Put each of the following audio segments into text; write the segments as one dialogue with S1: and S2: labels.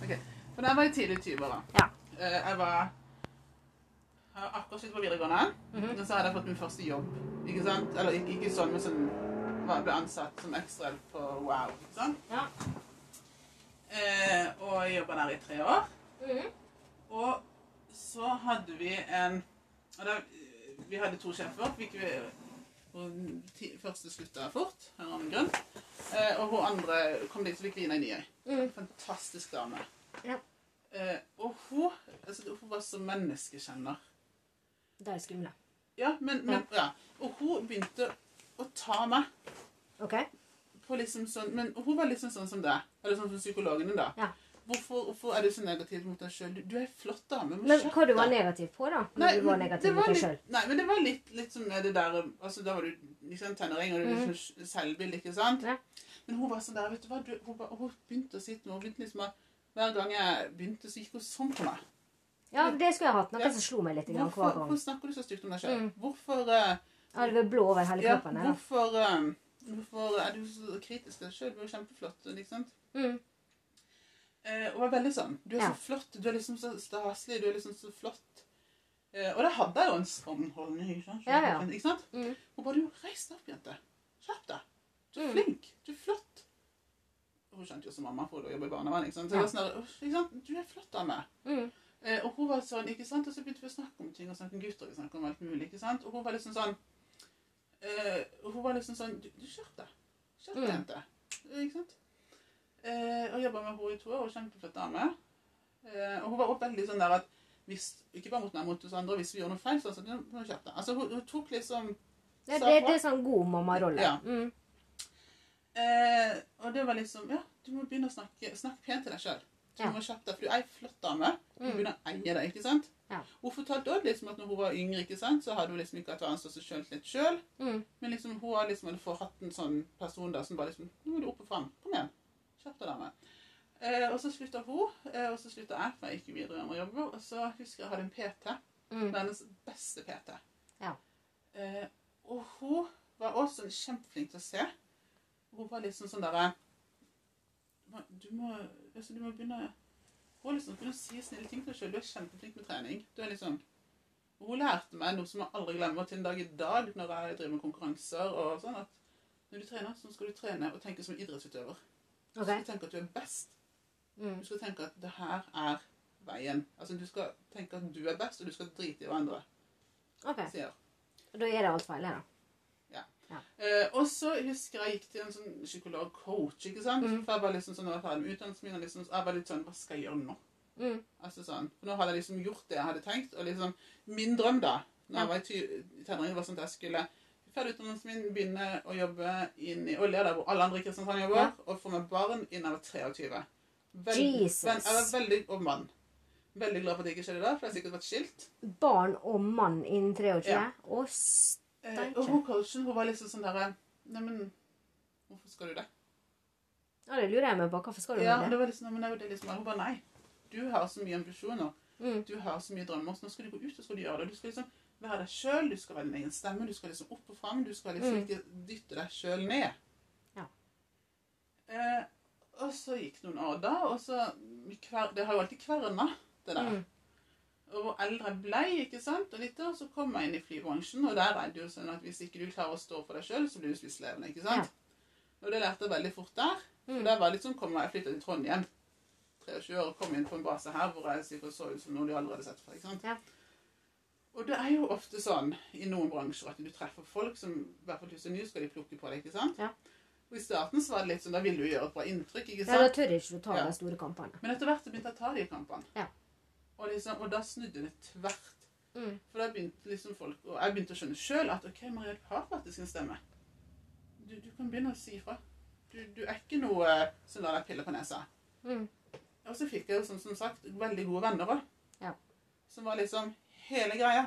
S1: Men jeg var i tidlig 20-åra.
S2: Ja.
S1: Eh, Jeg var jeg var akkurat slutt på videregående.
S2: Mhm.
S1: Og så hadde jeg fått min første jobb. Ikke sant? Eller ikke, ikke sånn, men som var, ble ansatt som ekstrahjelp på Wow. Ikke sant?
S2: Ja.
S1: Eh, og jeg jobba der i tre år. Mm-hmm.
S2: Mhm.
S1: Og så hadde vi en og da, Vi hadde to sjefer. Fikk vi, og den ti- første slutta fort, av en eller annen grunn. Eh, og hun andre kom dit, så fikk vi inn ei ny.
S2: Mhm.
S1: Fantastisk dame.
S2: Ja.
S1: Eh, og hun, altså, hun var så menneskekjenner.
S2: Det er skummelt.
S1: Ja, men, men ja. Og hun begynte å ta meg
S2: OK?
S1: på liksom sånn Men hun var liksom sånn som det. Eller sånn som psykologen din, da.
S2: Ja.
S1: Hvorfor, hvorfor er du så negativ mot deg sjøl? Du, du er ei flott dame. må
S2: Men
S1: skjerpe
S2: hva du var
S1: deg.
S2: negativ på, da? Når du var
S1: men
S2: negativ
S1: det
S2: mot
S1: var
S2: deg
S1: litt-
S2: sjøl?
S1: Nei, men det var litt, litt som det der altså, Da var du liksom tenåring, og du
S2: Mhm.
S1: mm. liksom selvbild, ikke sant?
S2: Ja.
S1: Men hun var sånn der, vet du hva du, hun, ba- hun begynte å si til meg hun begynte liksom å- Hver gang jeg begynte, så gikk hun sånn på meg.
S2: Ja, det skulle jeg hatt. Noe
S1: Ja.
S2: som slo meg litt grann
S1: Hvorfor,
S2: hver gang.
S1: hvorfor snakker du så stygt om deg sjøl?
S2: Mm.
S1: Hvorfor eh,
S2: Ja, det var blå over hele
S1: ja,
S2: kroppen. Ja,
S1: hvorfor, eh, hvorfor er du så kritisk til deg sjøl? Du er jo kjempeflott. Ikke sant?
S2: mm.
S1: Eh, og var veldig sånn. Du er
S2: Ja.
S1: så flott. Du er liksom så staselig. Du er liksom så flott. Eh, og da hadde jeg jo en sånn holdning. Ikke sant?
S2: Ja, ja.
S1: Ikke sant?
S2: Mm.
S1: Og bare du reis deg opp, jente. Skjerp deg. Du er
S2: Mm.
S1: flink. Du er flott. Og Hun skjønte jo som mamma, for hun jobber i barnevern. Ikke sant? Så
S2: Ja.
S1: jeg var sånn, der, «Åh, ikke sant? Du er flott, dame.
S2: Mm.
S1: Eh, og hun var sånn, ikke sant? Og så begynte vi å snakke om ting, og snakke om gutter, og snakke om alt mulig, ikke sant? Og hun var liksom sånn, eh, og hun var liksom sånn, du, du skjørt deg. Skjørt deg,
S2: Mm.
S1: jente. Eh, Ikke sant? Eh, og jobbet med henne i to år, og kjempeflott dame. Eh, og hun var også veldig sånn der at, hvis, ikke bare mot meg, mot oss andre, hvis vi gjør noe feil, så sånn, du må skjerpe deg. Altså, hun, hun tok liksom,
S2: Det,
S1: Så
S2: det,
S1: hva-
S2: det er sånn god mammarolle.
S1: Ja.
S2: Mm.
S1: eh, og det var liksom, ja, du må begynne å snakke, snakke pent til deg selv. Du
S2: Ja.
S1: må skjerpe deg, for du er en flott dame. Hun
S2: Mm.
S1: begynner å eie det, ikke sant?
S2: Ja.
S1: Hun fortalte også liksom at når hun var yngre, ikke sant, så hadde hun liksom ikke hatt verdens største selvtillit selv.
S2: Mm.
S1: Men liksom, hun har liksom hadde forhatt en sånn person da, som bare liksom, nå må du opp og frem, kom igjen, kjapp deg dame. Eh, og så slutta hun, eh, og så slutta jeg, for jeg gikk jo videre med å jobbe. Og så husker jeg jeg hadde en PT,
S2: Mm.
S1: verdens beste PT.
S2: Ja.
S1: Eh, og hun var også sånn kjempeflink til å se. Hun var liksom sånn derre du, må- altså, du må begynne Hun har liksom begynne å si snille ting til deg sjøl. Du er kjempeflink med trening. Du er liksom og Hun lærte meg noe som jeg aldri glemmer til en dag i dag når jeg driver med konkurranser og sånn, at når du trener, så skal du trene og tenke som en idrettsutøver. Du
S2: OK.
S1: skal tenke at du er best.
S2: Mm.
S1: Du skal tenke at det her er veien. Altså, du skal tenke at du er best, og du skal drite i hva andre
S2: ok.
S1: sier.
S2: Og da er det alt feil her, da.
S1: Eh, og så husker jeg gikk til en sånn psykolog-coach, ikke sant?
S2: Mhm.
S1: For jeg var liksom sånn, når jeg var ferdig med utdannelsen min, og liksom, jeg var litt sånn, hva skal jeg gjøre nå?
S2: Mm.
S1: Altså sånn, for nå hadde jeg liksom gjort det jeg hadde tenkt, og liksom, min drøm da, når jeg var i ty- tenåringen, var sånn at jeg skulle ferdig utdannelsen min, begynne å jobbe inn i olje, der hvor alle andre i Kristiansand jobber,
S2: Ja.
S1: og få meg barn innen jeg var 23. Vel-
S2: Jesus.
S1: vel- jeg var veldig, og mann. Veldig glad for at det ikke skjedde da, for jeg har sikkert vært skilt.
S2: Barn og mann innen 23?
S1: Ja.
S2: Og s...
S1: Eh,
S2: Tenker.
S1: og hun coachen, hun var liksom sånn der, nei, men, hvorfor skal du det?
S2: Ja, det lurer jeg meg på. Hvorfor skal du
S1: Ja, og
S2: med
S1: det
S2: det?
S1: var liksom, men det er jo det liksom, hun bare nei. Du har så mye ambisjoner,
S2: Mm.
S1: du har så mye drømmer, så nå skal du gå ut og skal du gjøre det. Du skal liksom være deg sjøl, du skal være din egen stemme, du skal liksom opp og fram, du skal liksom
S2: Mm.
S1: ikke dytte deg sjøl ned.
S2: Ja.
S1: Eh, og så gikk noen år da, og så kver, Det har jo alltid kverna, det der.
S2: Mm.
S1: Og hvor eldre jeg ble, ikke sant, og litt da, så kom jeg inn i flybransjen, og der er det jo sånn at hvis ikke du klarer å stå for deg sjøl, så blir du spist levende, ikke sant. Og det lærte jeg veldig fort der.
S2: Mm.
S1: Og der var jeg litt sånn, kom jeg flyttet til Trondheim, 23 år, og kom inn på en base her, hvor jeg sikkert så ut som noe de allerede sett fra, ikke sant.
S2: Ja.
S1: Og det er jo ofte sånn i noen bransjer at du treffer folk som, i hvert fall hvis du er ny, skal de plukke på deg, ikke sant.
S2: Ja.
S1: Og i starten så var det litt sånn, da ville du gjøre et bra inntrykk, ikke
S2: Ja,
S1: sant.
S2: da tør ikke du ta
S1: Ja.
S2: de store kampene.
S1: Men etter hvert så begynte jeg å ta de kampene.
S2: Ja.
S1: Og, liksom, og da snudde det tvert.
S2: Mm.
S1: For da begynte liksom folk, og jeg begynte å skjønne sjøl at OK, Maria, du har faktisk en stemme. Du, du kan begynne å si ifra. Du, du er ikke noe eh, som lar deg pille på nesa.
S2: Mm.
S1: Og så fikk jeg jo, som, som sagt, veldig gode venner òg.
S2: Ja.
S1: Som var liksom hele greia.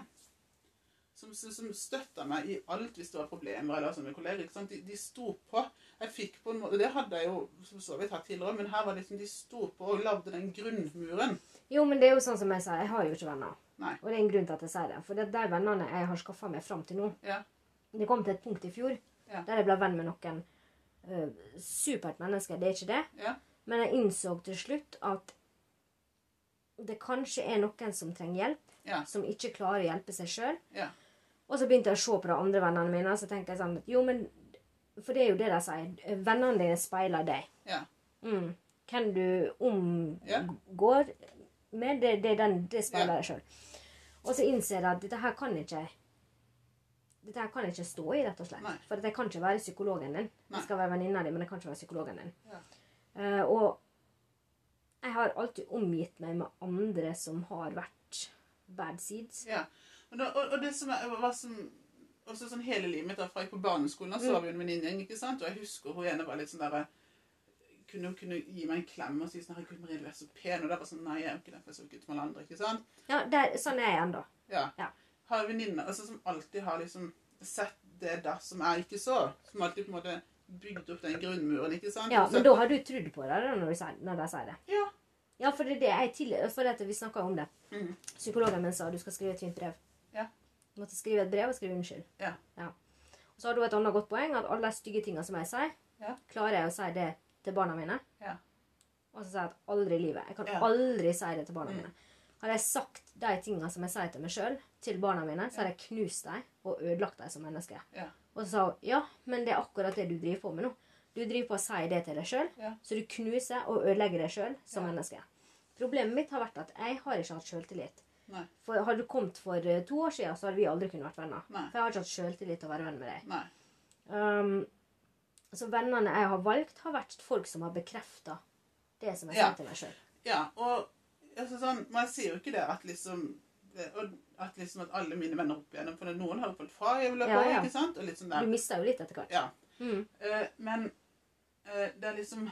S1: Som, som, som støtta meg i alt hvis det var problemer eller sånne kolleger. ikke sant? De, de sto på. Jeg fikk på en måte, Det hadde jeg jo som så vidt hatt tidligere, men her var liksom de sto på og lagde den grunnmuren.
S2: Jo, men det er jo sånn som jeg sier, jeg har jo ikke venner.
S1: Nei.
S2: Og det er en grunn til at jeg sier det. For det er de vennene jeg har skaffa meg fram til nå,
S1: Ja.
S2: Det kom til et punkt i fjor
S1: Ja.
S2: der jeg ble venn med noen ø, supert mennesker. Det er ikke det.
S1: Ja.
S2: Men jeg innså til slutt at det kanskje er noen som trenger hjelp,
S1: Ja.
S2: som ikke klarer å hjelpe seg sjøl.
S1: Ja.
S2: Og så begynte jeg å se på de andre vennene mine, og så tenkte jeg sånn Jo, men For det er jo det de sier. Vennene dine speiler deg.
S1: Ja.
S2: Mm. Hvem du
S1: Ja.
S2: omgår med, det, det, er den, det speiler deg sjøl. Og så innser jeg at dette her kan ikke dette her kan jeg ikke stå i, rett og slett.
S1: Nei.
S2: For at jeg kan ikke være psykologen din.
S1: Nei.
S2: Jeg skal være venninna di, men jeg kan ikke være psykologen din.
S1: Ja.
S2: Eh, og jeg har alltid omgitt meg med andre som har vært bad seeds.
S1: Ja. Og, da, og, og det som er, var som også sånn hele livet mitt da, fra jeg på barneskolen,
S2: Mm.
S1: da, så var vi jo en venninnegjeng, ikke sant? Og jeg husker hun ene var litt sånn der, kunne, kunne gi meg en klem og si sånn, herregud Marie, du er så pen, og det var sånn, nei, jeg er jo ikke derfor jeg er så gutt som alle andre, ikke sant?
S2: Ja, der, sånn er jeg ennå.
S1: Ja.
S2: Ja.
S1: Har venninner altså, som alltid har liksom sett det der som er ikke så. Som alltid på en måte bygd opp den grunnmuren, ikke sant?
S2: Ja,
S1: Og så-
S2: men da har du trodd på det da, når, du sier, når de sier det.
S1: Ja.
S2: Ja, for det er det jeg tidligere For dette, vi snakka om det.
S1: Mhm.
S2: Psykologen min sa du skal skrive et fint brev.
S1: Ja.
S2: Du måtte skrive et brev og skrive unnskyld.
S1: Ja.
S2: Og så har du et annet godt poeng, at alle de stygge tinga som jeg sier,
S1: Ja.
S2: klarer jeg å si det til barna mine.
S1: Ja.
S2: Og så sier jeg at aldri i livet. Jeg kan
S1: Ja.
S2: aldri si det til barna
S1: Mm.
S2: mine. Hadde jeg sagt de tinga som jeg sier til meg sjøl, til barna mine, så hadde jeg knust dem og ødelagt dem som menneske.
S1: Ja.
S2: Og så sa hun ja, men det er akkurat det du driver på med nå. Du driver på å si det til deg sjøl,
S1: Ja.
S2: så du knuser og ødelegger deg sjøl som
S1: Ja.
S2: menneske. Problemet mitt har vært at jeg har ikke hatt sjøltillit.
S1: Nei.
S2: For hadde du kommet for eh, to år siden, så hadde vi aldri kunnet vært venner.
S1: Nei.
S2: For jeg har ikke hatt sjøltillit til å være venn med deg.
S1: Nei.
S2: Um, så vennene jeg har valgt, har vært folk som har bekrefta det som jeg
S1: Ja.
S2: sier til meg sjøl.
S1: Ja, og altså, sånn, men jeg sier jo ikke det at liksom det- og at liksom at alle mine venner opp igjennom, for noen har jo falt fra i løpet av
S2: Ja,
S1: året,
S2: ja.
S1: ikke sant? Og litt sånn der.
S2: Du mista jo litt etter hvert.
S1: Ja.
S2: Mm.
S1: Eh, men eh, det er liksom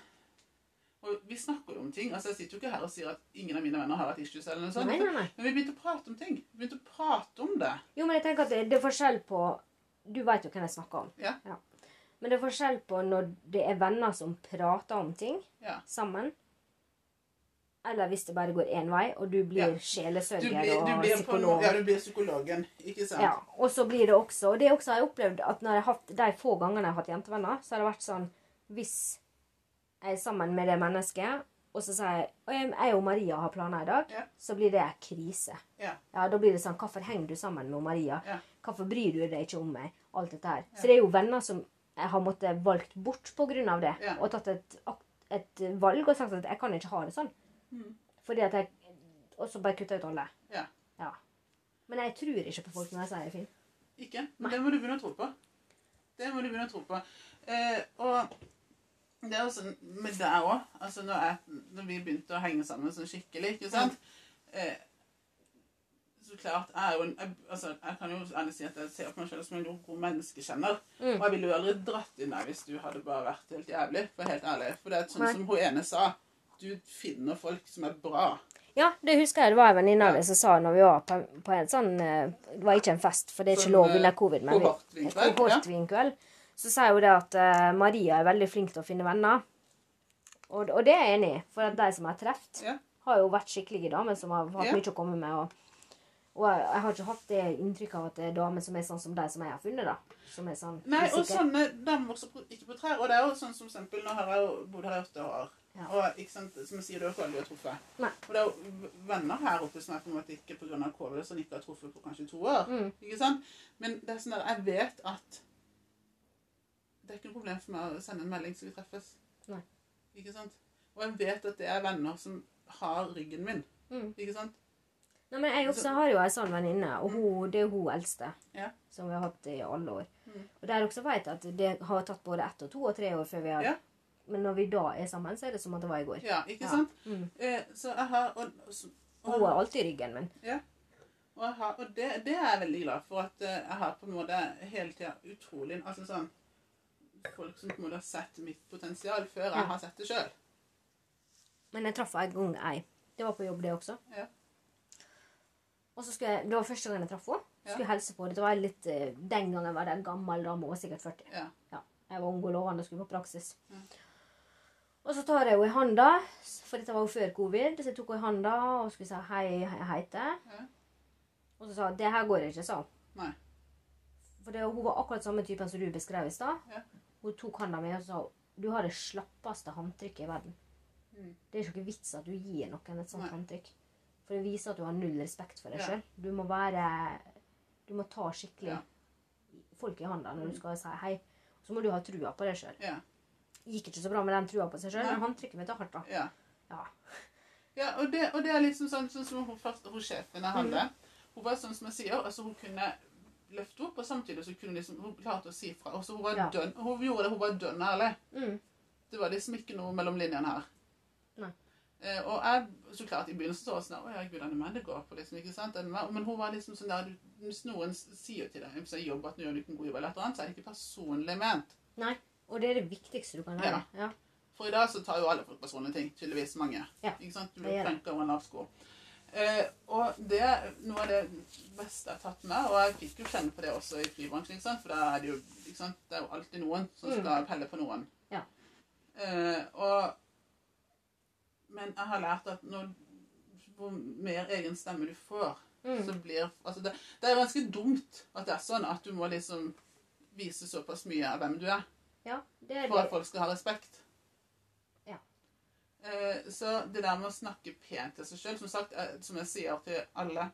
S1: Og vi snakker jo om ting. altså Jeg sitter jo ikke her og sier at ingen av mine venner har hatt issues, eller noe sånt.
S2: Nei, nei, nei.
S1: Men vi begynte å prate om ting. Vi begynte å prate om det.
S2: Jo, men jeg tenker at det, det er forskjell på Du veit jo hvem jeg snakker om.
S1: Ja.
S2: Men det er forskjell på når det er venner som prater om ting
S1: Ja.
S2: sammen, eller hvis det bare går én vei, og du blir
S1: Ja. Du
S2: sjelesørger
S1: blir, du
S2: og
S1: blir på noe,
S2: psykolog.
S1: ja, du blir psykologen, ikke sant?
S2: Ja, og så blir det også Og det er også har jeg opplevd at når jeg har hatt de få gangene jeg har hatt jentevenner, så har det vært sånn Hvis jeg er sammen med det mennesket, og så sier jeg «Oi, jeg og Maria har planer i dag,
S1: Ja.
S2: så blir det en krise.
S1: Ja.
S2: Ja, Da blir det sånn Hvorfor henger du sammen med Maria?
S1: Ja.
S2: Hvorfor bryr du deg ikke om meg? Alt dette her. Så det er jo venner som jeg har måttet valgt bort pga. det,
S1: Ja.
S2: og tatt et, akt- et valg og sagt at jeg kan ikke ha det sånn.
S1: Mm.
S2: Fordi at jeg Og så bare kutta ut alle.
S1: Ja.
S2: Ja. Men jeg tror ikke på folk når jeg sier det er fint.
S1: Ikke? Men det må du begynne å tro på. Det må du begynne å tro på. Eh, og det er jo sånn med deg òg. Altså når, jeg, når vi begynte å henge sammen sånn skikkelig, ikke sant eh, Så klart, jeg er jo en jeg, altså, jeg kan jo ærlig si at jeg ser på meg selv som en god- god menneskekjenner. Og jeg ville jo aldri dratt inn deg hvis du hadde bare vært helt jævlig. For helt ærlig. For det er sånn
S2: Nei.
S1: som hun ene sa. Du finner folk som er bra.
S2: Ja, det husker jeg det var en venninne av deg som sa når vi var på, på en sånn eh, Det var ikke en fest, for det er ikke
S1: Sånn,
S2: lov
S1: eh,
S2: under covid, men vi-
S1: kohortvinkveld,
S2: et kohortvinkveld. Så sier hun det at eh, Maria er veldig flink til å finne venner. Og, og det er jeg enig i, for at de som jeg har truffet,
S1: Ja.
S2: har jo vært skikkelige damer som har hatt
S1: Ja.
S2: mye å komme med. Og, og jeg, jeg har ikke hatt det inntrykket av at det er damer som er sånn som de som jeg har funnet, da. Som er sånn
S1: Nei, og
S2: usikker.
S1: sånne damer som ikke på trær. Og det er jo sånn som eksempel, nå har jeg jo bodd her i åtte år.
S2: Ja.
S1: Og ikke sant, som jeg sier, du har ikke aldri truffet.
S2: Nei.
S1: Og det er jo v- venner her oppe som jeg på en måte ikke på grunn av covid, som ikke har truffet på kanskje to år.
S2: Mm.
S1: Ikke sant? Men det er sånn der, jeg vet at det er ikke noe problem for meg å sende en melding så vi treffes.
S2: Nei.
S1: Ikke sant? Og jeg vet at det er venner som har ryggen min.
S2: Mm.
S1: Ikke sant?
S2: Nei, men jeg også har jo ei sånn venninne, og hun, det er hun eldste.
S1: Mm. Ja.
S2: Som vi har hatt i alle år.
S1: Mm.
S2: Og der også vet jeg at det har tatt både ett og to og tre år før vi har
S1: Ja.
S2: Men når vi da er sammen, så er det som at det var i går.
S1: Ja, ikke
S2: Ja.
S1: sant?
S2: Mm.
S1: Eh, så jeg har... Og, og, så- og-
S2: Hun er alltid i ryggen min.
S1: Og, jeg har, og det, det er jeg veldig glad for, at eh, jeg har på en måte hele tida utrolig altså sånn, Folk som på en måte har sett mitt potensial før
S2: Ja.
S1: jeg har sett det sjøl.
S2: Men jeg traff en gang ei. Det var på jobb, det også.
S1: Ja.
S2: Og så skulle jeg, Det var første gang jeg traff henne.
S1: Ja.
S2: Skulle hilse på henne. Det var litt, eh, Den gangen var det en gammel dame, hun var sikkert 40.
S1: Ja.
S2: Jeg var ung og lovende og skulle på praksis.
S1: Ja.
S2: Og så tar jeg henne i handa, for dette var jo før covid. Så jeg tok henne i handa og skulle si hei, jeg heter
S1: Ja.
S2: Og så sa hun det her går ikke, sa hun.
S1: Nei.
S2: For det, hun var akkurat samme typen som du beskrev i stad.
S1: Ja.
S2: Hun tok handa mi og sa du har det slappeste håndtrykket i verden.
S1: Mm.
S2: Det er ikke noe vits at du gir noen et sånt
S1: Nei.
S2: håndtrykk. For det viser at du har null respekt for deg
S1: Ja.
S2: sjøl. Du må være Du må ta skikkelig
S1: Ja.
S2: folk i hånda når
S1: Mm.
S2: du skal si hei. Så må du ha trua på deg sjøl.
S1: Ja.
S2: Gikk ikke så bra med den trua på seg sjøl,
S1: Nei.
S2: men han trykker meg til hardt, da.
S1: ja.
S2: Ja.
S1: Ja, og det, og det er liksom sånn, sånn som hun, først, hun sjefen jeg hadde.
S2: Mm.
S1: Hun var sånn som jeg sier, altså hun kunne løfte opp, og samtidig så kunne hun liksom, hun klarte å si fra. Og så hun var
S2: Ja.
S1: dønn, hun gjorde det, hun var dønn ærlig.
S2: Mm.
S1: Det var liksom ikke noe mellom linjene her.
S2: Nei.
S1: Eh, og jeg, så klart, i begynnelsen så var det sånn, åja, gud, han er menn det går på, liksom, ikke sant? Han er menn. Men hun var liksom sånn der, du- hvis noen sier til deg, hvis jeg jobber at nå gjør du ikke en god jobb eller et eller annet, så er det ikke personlig ment.
S2: Nei. Og det er det viktigste du kan lære. Ja.
S1: For i dag så tar jo alle folk personlige ting, tydeligvis mange.
S2: Ja,
S1: Ikke sant? Du
S2: det
S1: blir
S2: gjør det.
S1: krenket over en lav sko. Eh, og det er noe av det beste jeg har tatt med, og jeg fikk jo kjenne på det også i flybransjen, ikke sant? for da er det jo, ikke sant? Det er jo alltid noen som
S2: Mm.
S1: skal pelle på noen.
S2: Ja.
S1: Eh, og, men jeg har lært at når, hvor mer egen stemme du får,
S2: Mm.
S1: så blir, altså det, det er ganske dumt at det er sånn at du må liksom vise såpass mye av hvem du er
S2: ja. Det er
S1: for
S2: det.
S1: at folk skal ha respekt.
S2: Ja.
S1: Eh, Så det der med å snakke pent til seg sjøl, som sagt, eh, som jeg sier til alle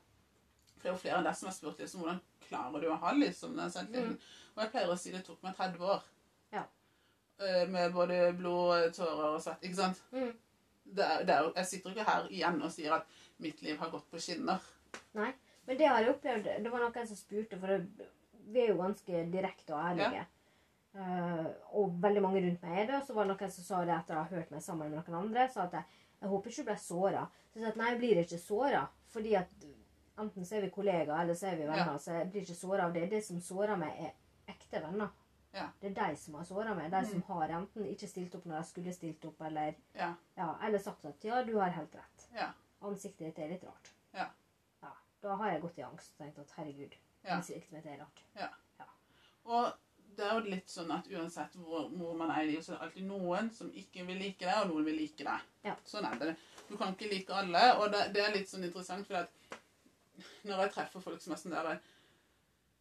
S1: For det er jo flere enn deg som har spurt liksom, hvordan klarer du å ha liksom, den selvtilliten. Og jeg pleier å si det tok meg 30 år.
S2: Mm. Ja.
S1: Eh, Med både blod, tårer og svett. Ikke sant?
S2: Mm.
S1: Det er, det er, jo- jeg sitter jo ikke her igjen og sier at mitt liv har gått på skinner.
S2: Nei. Men det har jeg opplevd. Det var noen som spurte, for det, vi er jo ganske direkte og ærlige. Eh, og veldig mange rundt meg er det. Og så var det noen som sa det etter å ha hørt meg sammen med noen andre. Sa at jeg, jeg håper ikke du ble såra. Så jeg sa at nei, jeg blir ikke såra. Fordi at enten så er vi kollegaer, eller så er vi venner.
S1: Ja.
S2: Så jeg blir ikke såra av det. Det som sårer meg, er ekte venner.
S1: Ja. Mm.
S2: Det er de som har såra meg. De som har enten ikke stilt opp når de skulle stilt opp, eller,
S1: Ja.
S2: ja, eller sagt at ja, du har helt rett
S1: Ja.
S2: ansiktet ditt er litt rart.
S1: Ja.
S2: Ja, Da har jeg gått i angst og tenkt at herregud,
S1: Ja.
S2: ansiktet mitt er rart.
S1: Og det er jo litt sånn at uansett hvor, hvor man er i livet, så er det alltid noen som ikke vil like deg, og noen vil like deg.
S2: Ja.
S1: Sånn er det. Du kan ikke like alle, og det, det er litt sånn interessant, for at når jeg treffer folk som er sånn der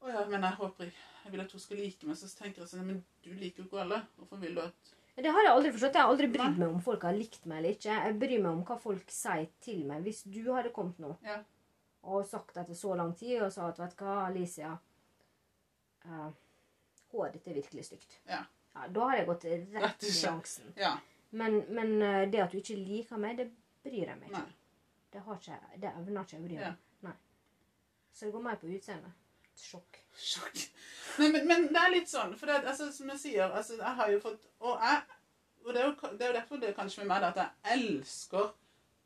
S1: Å ja, men jeg håper jeg, jeg vil at hun skal like meg, så tenker jeg sånn Men du liker jo ikke alle. Hvorfor vil du at
S2: Men det har jeg aldri forstått. Jeg har aldri brydd meg om folk har likt meg eller ikke. Jeg bryr meg om hva folk sier til meg. Hvis du hadde kommet nå
S1: Ja.
S2: og sagt etter så lang tid og sa at vet du hva, Alicia eh, Håret ditt er virkelig stygt.
S1: Ja.
S2: Ja, da har jeg gått
S1: Rett
S2: rett
S1: i
S2: i
S1: kjeft.
S2: angsten.
S1: Ja.
S2: Men, men eh, det at du ikke liker meg, det bryr jeg meg ikke
S1: Nei.
S2: om. Det, har ikke, det evner ikke jeg å bry meg om. Nei. Så det går mer på utseendet. Sjokk.
S1: Sjokk. Nei, men, men det er litt sånn, for det, er- altså, som jeg sier, altså, jeg har jo fått Og, jeg, og det, er jo, det er jo derfor det er kanskje med meg det at jeg elsker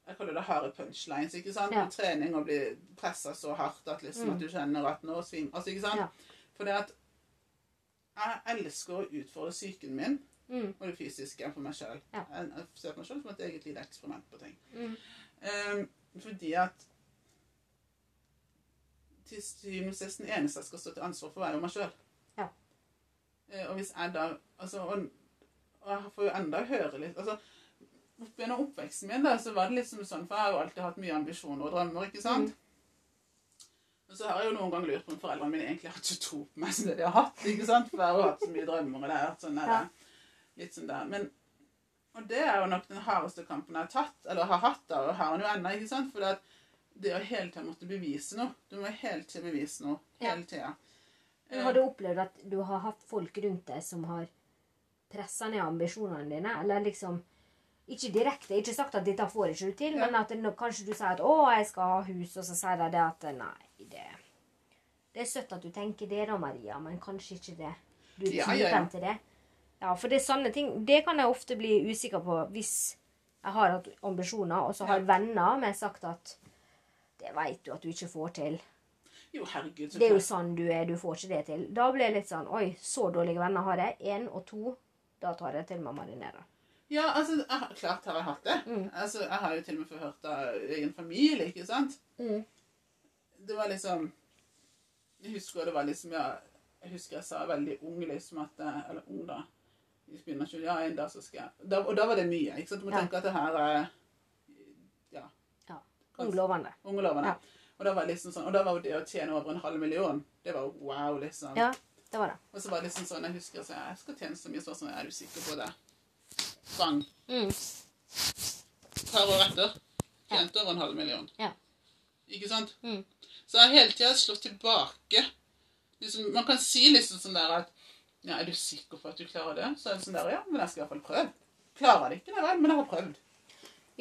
S1: Jeg kaller det harde punchlines. ikke sant?
S2: Ja.
S1: På trening å bli pressa så hardt at, liksom,
S2: Mm.
S1: at du kjenner at nå svim... Altså, ikke sant?
S2: Ja.
S1: For det at jeg elsker å utfordre psyken min
S2: Mm,
S1: og det fysiske for meg sjøl.
S2: Ja.
S1: Jeg, jeg ser på meg sjøl som et eget lite eksperiment på ting.
S2: mm,
S1: Ehm, fordi at til syvende og sist den eneste jeg skal stå til ansvar for, er jo meg sjøl.
S2: Ja.
S1: og hvis jeg da altså, og, og jeg får jo enda høre litt altså, opp Gjennom oppveksten min da, så var det liksom sånn, for jeg har jo alltid hatt mye ambisjoner og drømmer. ikke sant?
S2: Mm.
S1: Og så har jeg jo noen ganger lurt på om foreldrene mine egentlig har ikke tro på meg som det de har hatt. ikke sant? For jeg har jo hatt så mye drømmer. og det har vært sånn der,
S2: Ja.
S1: litt sånn der. Men og det er jo nok den hardeste kampen jeg har tatt, eller har hatt, da, og har den jo ennå, ikke sant? For det, at det å hele tida måtte bevise noe Du må hele tida bevise noe. Hele tida. Eh.
S2: Men har du opplevd at du har hatt folk rundt deg som har pressa ned ambisjonene dine? Eller liksom Ikke direkte, ikke sagt at 'dette får ikke du til',
S1: Ja.
S2: men at det nå- kanskje du sier at 'å, jeg skal ha hus', og så sier de det at 'nei, det Det er søtt at du tenker det da, Maria, men kanskje ikke det. Du er
S1: Ja,
S2: typen
S1: ja, ja.
S2: til det. Ja, for det er sånne ting Det kan jeg ofte bli usikker på hvis jeg har hatt ambisjoner, og så har
S1: Ja.
S2: venner med sagt at 'det veit du at du ikke får til'.
S1: Jo, herregud, så
S2: Det er jo
S1: klart.
S2: sånn du er, du får ikke det til. Da ble jeg litt sånn Oi, så dårlige venner har jeg. Én og to. Da tar jeg til meg marinere.
S1: Ja, altså, jeg, har- klart har jeg hatt det.
S2: Mm.
S1: Altså, Jeg har jo til og med forhørt det av egen familie, ikke sant?
S2: Mm.
S1: Det var liksom Jeg husker det var liksom ja, Jeg husker jeg sa veldig ung, liksom at eh, Eller ung, da. I begynnelsen. Ja, en dag så skal jeg da, Og da var det mye. ikke sant? Du må
S2: Ja.
S1: tenke at det her er Ja.
S2: Ja.
S1: Ganske-
S2: lovende.
S1: Unge lovende.
S2: Ja.
S1: Og da var det liksom sånn, og da var jo det å tjene over en halv million, det var jo wow, liksom.
S2: Ja, det var det.
S1: Og så var det liksom sånn, jeg husker så jeg skal tjene så mye, så var det sånn, er du sikker på det? Bang.
S2: Mm.
S1: Et par år etter. Tjente over en halv million.
S2: Ja.
S1: Ikke sant?
S2: Mm.
S1: Så jeg har hele tida slått tilbake. Liksom, man kan si liksom sånn der at Ja, er du sikker på at du klarer det? Så er det sånn der, ja, men jeg skal i hvert fall prøve. Klarer det ikke, nei vel, men jeg har prøvd.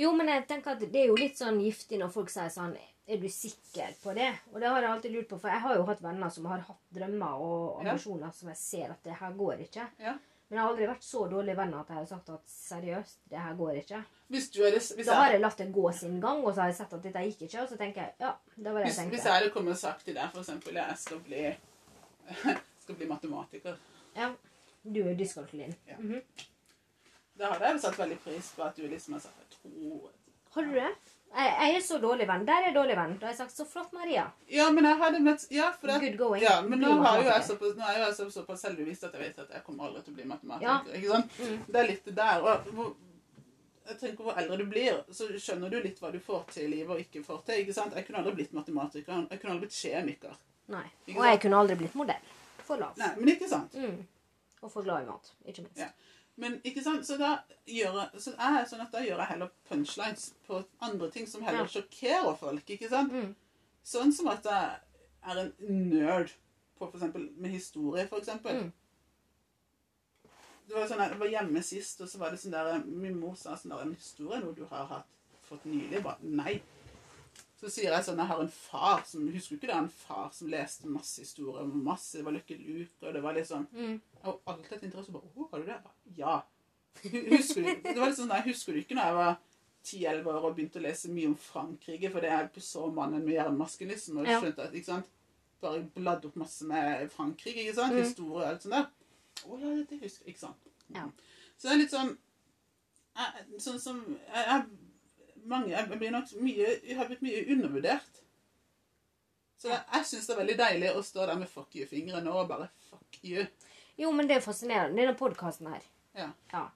S2: Jo, men jeg tenker at det er jo litt sånn giftig når folk sier sånn Er du sikker på det? Og det har jeg alltid lurt på, for jeg har jo hatt venner som har hatt drømmer og
S1: Ja.
S2: ambisjoner som jeg ser at det her går ikke.
S1: Ja.
S2: Men jeg har aldri vært så dårlig venn at jeg har sagt at seriøst, det her går ikke.
S1: Hvis du er det, hvis
S2: Da har
S1: jeg,
S2: jeg latt det gå sin gang, og så har jeg sett at dette gikk ikke, og så tenker jeg ja, det var det
S1: hvis,
S2: jeg
S1: hvis
S2: tenkte.
S1: jeg hadde kommet og sagt til deg for eksempel jeg skal bli, skal bli matematiker,
S2: Ja, du er dyskalkulin.
S1: Ja.
S2: Mhm.
S1: da hadde jeg jo satt veldig pris på at du liksom har sagt jeg tror
S2: Har du det? Jeg, jeg er så dårlig venn. Der er jeg dårlig venn. Da har jeg sagt så flott, Maria.
S1: Ja, men jeg hadde møtt Ja, for det,
S2: Good going.
S1: Ja, men nå,
S2: Bli
S1: har jo jeg
S2: matematiker.
S1: såpass, nå er jo jeg så- såpass selvbevisst at jeg vet at jeg kommer aldri til å bli matematiker.
S2: Ja.
S1: ikke sant?
S2: Mm.
S1: Det er litt det der. Og hvor, jeg tenker hvor eldre du blir, så skjønner du litt hva du får til i livet og ikke får til. ikke sant? Jeg kunne aldri blitt matematiker. Jeg kunne aldri blitt kjemiker.
S2: Nei.
S1: Ikke
S2: Og jeg kunne aldri blitt modell. For lav.
S1: Nei, men ikke sant?
S2: Mm. Og for glad i mat, ikke minst.
S1: Ja. Men ikke sant? Så da gjør jeg, så er jeg sånn at da gjør jeg heller punchlines på andre ting som heller sjokkerer folk. ikke sant?
S2: Mm.
S1: Sånn som at jeg er en nerd på for eksempel, med historie, for eksempel.
S2: Mm.
S1: Det var sånn, jeg var hjemme sist, og så var det sånn der Min mor sa sånn der En historie noe du har hatt, fått nylig? Jeg Bare, nei. Så sier jeg sånn Jeg har en far som Husker du ikke det? En far som leste masse historier om masse Det var Lucky Luke, og det var liksom
S2: Mm.
S1: Jeg har alltid hatt interesse. og Bare, oh, har du det? Jeg Bare, ja. Husker du, det var litt sånn, nei, husker du ikke når jeg var 10-11 år og begynte å lese mye om Frankrike? For det jeg så mannen med jernmasken, liksom, og
S2: Ja.
S1: skjønte at ikke sant? Bare bladd opp masse med Frankrike, ikke sant?
S2: Mm.
S1: Historie og alt sånt der. Å ja, det husker jeg, ikke sant? Mm.
S2: Ja.
S1: Så det er litt sånn jeg, Sånn som jeg, jeg, mange, jeg blir nok mye Jeg har blitt mye undervurdert. Så jeg, jeg syns det er veldig deilig å stå der med fuck you-fingeren og bare fuck you.
S2: Jo, men det er fascinerende. Denne podkasten her,
S1: Ja.
S2: ja.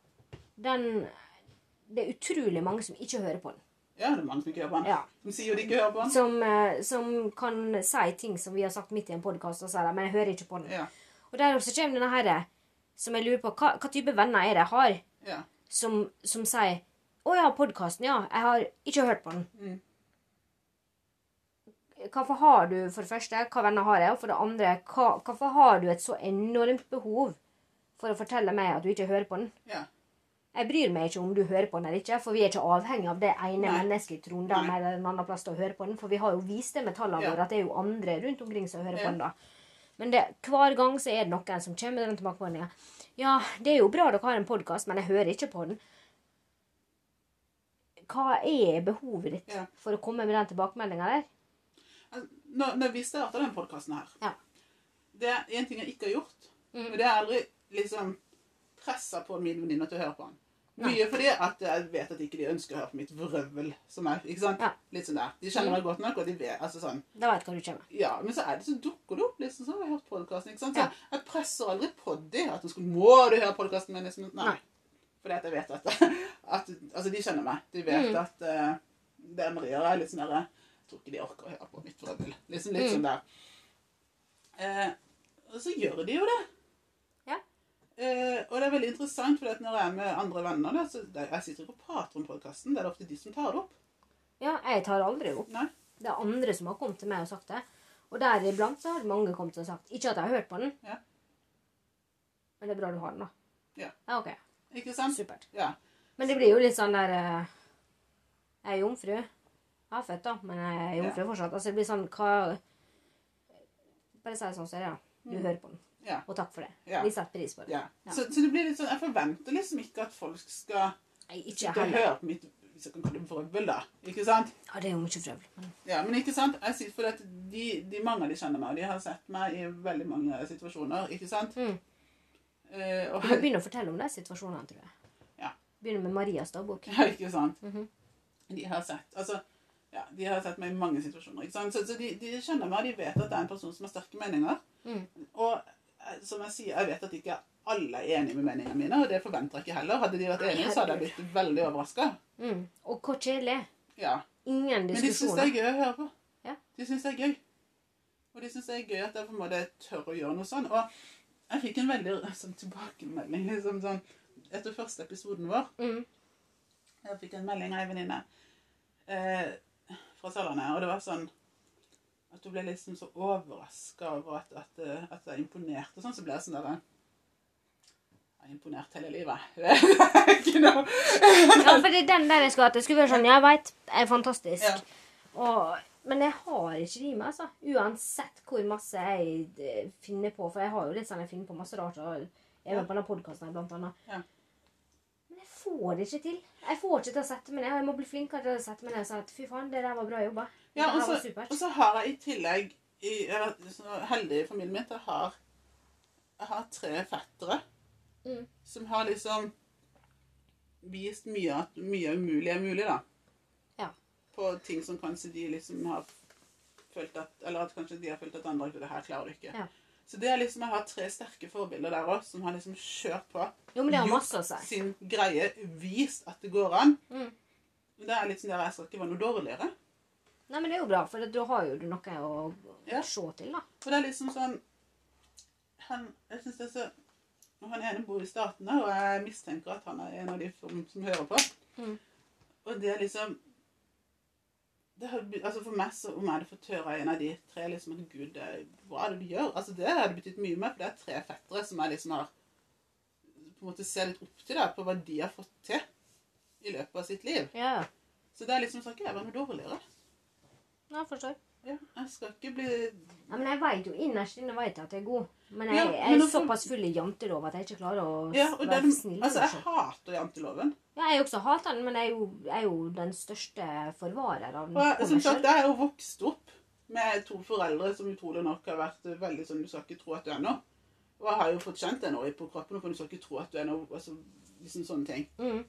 S2: den Det er utrolig mange som ikke hører på den.
S1: Ja, det er mange som ikke hører på han.
S2: Ja.
S1: De sier jo de ikke hører på han.
S2: Som, eh, som kan si ting som vi har sagt midt i en podkast, og sier de, men jeg hører ikke på den.
S1: Ja,
S2: Og der også kommer denne herre som jeg lurer på hva, hva type venner er det jeg har,
S1: ja.
S2: som, som sier Å ja, podkasten, ja. Jeg har ikke hørt på den.
S1: Mm.
S2: Hvorfor har du for det første, hva venner har jeg, og for det andre, hva, hvorfor har du et så enormt behov for å fortelle meg at du ikke hører på den?
S1: ja.
S2: Jeg bryr meg ikke om du hører på den eller ikke, for vi er ikke avhengig av det ene
S1: Nei.
S2: mennesket i Trondheim
S1: Nei.
S2: eller en annen plass til å høre på den, for vi har jo vist det med tallene
S1: Ja.
S2: våre at det er jo andre rundt omkring som hører
S1: Ja.
S2: på den da. Men det, hver gang så er det noen som kommer med den tilbakemeldinga. Ja, det er jo bra dere har en podkast, men jeg hører ikke på den. Hva er behovet ditt
S1: Ja.
S2: for å komme med den tilbakemeldinga der?
S1: Altså, Når, når vi starta den podkasten her
S2: Ja.
S1: Det er én ting jeg ikke har gjort.
S2: Mm.
S1: Og det er aldri liksom pressa på mine venninner til å høre på han.
S2: Nei.
S1: Mye fordi at jeg vet at ikke de ønsker å høre på mitt vrøvl som er. ikke sant?
S2: Ja.
S1: Litt sånn der. De kjenner meg godt nok, og de vet altså sånn
S2: Da veit hva du kommer.
S1: Ja, men så er det så dukker det opp liksom sånn. Jeg har hørt podkasten, ikke sant. Så
S2: Ja.
S1: jeg, jeg presser aldri på det. At de skulle Må du høre podkasten min? Liksom, nei.
S2: Nei.
S1: Fordi at jeg vet at, at Altså, de kjenner meg. De vet
S2: Mm.
S1: at eh, det er Maria. Jeg er litt sånn der Jeg tror ikke de orker å høre på mitt vrøvl. Liksom litt
S2: Mm.
S1: sånn der. Eh, og så gjør de jo det.
S2: Ja.
S1: Eh, og det er veldig interessant, for når jeg er med andre venner da, så det, Jeg sitter ikke og prater om podkasten. Det er det ofte de som tar det opp.
S2: Ja, jeg tar aldri opp.
S1: Nei.
S2: Det er andre som har kommet til meg og sagt det. Og deriblant så har mange kommet og sagt Ikke at jeg har hørt på den.
S1: Ja.
S2: Men det er bra du har den, da.
S1: Ja.
S2: ja ok.
S1: Ikke sant?
S2: Supert.
S1: Ja.
S2: Men det blir jo litt sånn der eh, Jeg er jomfru. Jeg er født, da, men jeg er jomfru fortsatt. Altså det blir sånn hva Bare si det sånn som det er, da. Du hører på den.
S1: Mm. Ja.
S2: Og takk for det.
S1: Ja.
S2: Vi setter pris på det.
S1: Ja.
S2: Ja.
S1: Så, så det blir litt sånn, jeg forventer liksom ikke at folk skal,
S2: Nei, ikke
S1: skal
S2: heller.
S1: høre på mitt hvis jeg kan kalle det vrøvl, da. Ikke sant?
S2: Ja, det er jo mye frøvl. Men
S1: Ja, men ikke sant? Jeg sier, for at de, de mange av de kjenner meg, og de har sett meg i veldig mange situasjoner, ikke sant?
S2: Mm.
S1: Eh,
S2: vi må
S1: og,
S2: begynne å fortelle om de situasjonene, tror jeg.
S1: Ja.
S2: Begynne med Marias dagbok.
S1: ja, ikke sant?
S2: Mhm.
S1: De har sett, altså, ja, de har sett meg i mange situasjoner, ikke sant? Så, så de, de kjenner meg, og de vet at det er en person som har sterke meninger.
S2: Mm.
S1: Og eh, som jeg sier, jeg vet at ikke alle er enige med meningene mine, og det forventer jeg ikke heller. Hadde de vært
S2: Nei,
S1: enige, så hadde jeg blitt veldig overrasket.
S2: Mm. Og hvor kjedelig.
S1: Ja. Men
S2: Ingen
S1: de syns det
S2: diskusjoner.
S1: er gøy å høre på.
S2: Ja.
S1: De syns det er gøy. Og de syns det er gøy at jeg på en måte tør å gjøre noe sånn. Og jeg fikk en veldig sånn, tilbakemelding liksom sånn etter første episoden vår.
S2: Mm.
S1: Jeg fikk en melding av ei venninne eh, fra Frasellerne. Og det var sånn at hun ble liksom så overraska over at, at, eh, at jeg imponerte. og Sånn så ble jeg sånn der Jeg har imponert hele livet. Det er ikke noe
S2: Ja, for det er den der jeg skulle hatt. Jeg skulle være sånn, jeg veit, jeg er fantastisk.
S1: Ja.
S2: Og, men jeg har ikke det i meg, altså. Uansett hvor masse jeg eh, finner på. For jeg har jo litt sånn, jeg finner på masse rart. Og jeg er med på denne podkasten her, blant annet.
S1: Ja.
S2: Men jeg får det ikke til. Jeg får ikke til å sette meg ned. og Jeg må bli flinkere til å sette meg ned og si at fy faen, det der var bra jobba.
S1: Ja,
S2: det
S1: og
S2: der var
S1: så, og
S2: supert.
S1: så har jeg i tillegg i, Jeg er så heldig i familien min at jeg har, jeg har tre fettere
S2: Mm.
S1: som har liksom vist mye at mye umulig er mulig, da.
S2: Ja.
S1: På ting som kanskje de liksom har følt at Eller at kanskje de har følt at andre det her klarer du ikke.
S2: Ja.
S1: Så det er liksom, jeg har tre sterke forbilder der òg, som har liksom kjørt på
S2: Jo, men det har
S1: gjort
S2: masse å si.
S1: sin greie, vist at det går an.
S2: Mm.
S1: Det er liksom der jeg skal ikke være noe dårligere.
S2: Nei, men det er jo bra, for da har jo du noe å
S1: Ja.
S2: se til, da.
S1: For det er liksom sånn han, Jeg synes det er så og Han ene bor i Statene, og jeg mistenker at han er en av de som, som hører på.
S2: Mhm.
S1: Og det er liksom det har, be- altså For meg, så om jeg hadde fått høre av en av de tre liksom at Gud, det- hva er det du gjør? Altså Det hadde betydd mye mer, for det er tre fettere som jeg liksom har på en måte ser litt opp til da, på hva de har fått til i løpet av sitt liv.
S2: Ja, ja.
S1: Så det er liksom så skal ikke jeg være noe dårligere.
S2: Ja, jeg forstår.
S1: Ja, jeg skal ikke bli
S2: Ja, men jeg vet jo innerst inne vet jeg at jeg er god. Men jeg,
S1: Ja,
S2: jeg
S1: men
S2: er
S1: nå får-
S2: såpass full i jantelov at jeg ikke klarer å s-
S1: Ja, og det er,
S2: være snill.
S1: altså, jeg
S2: kanskje.
S1: hater janteloven.
S2: ja, jeg er jo også hater den, men jeg er, jo, jeg er jo den største forvarer av den.
S1: Og jeg,
S2: på
S1: som
S2: meg
S1: sagt,
S2: selv.
S1: jeg er jo vokst opp med to foreldre som utrolig nok har vært veldig sånn Du skal ikke tro at du er noe. Og jeg har jo fått kjent det nå i på kroppen, for du skal ikke tro at du er noe. Altså, liksom sånne ting.
S2: Mm.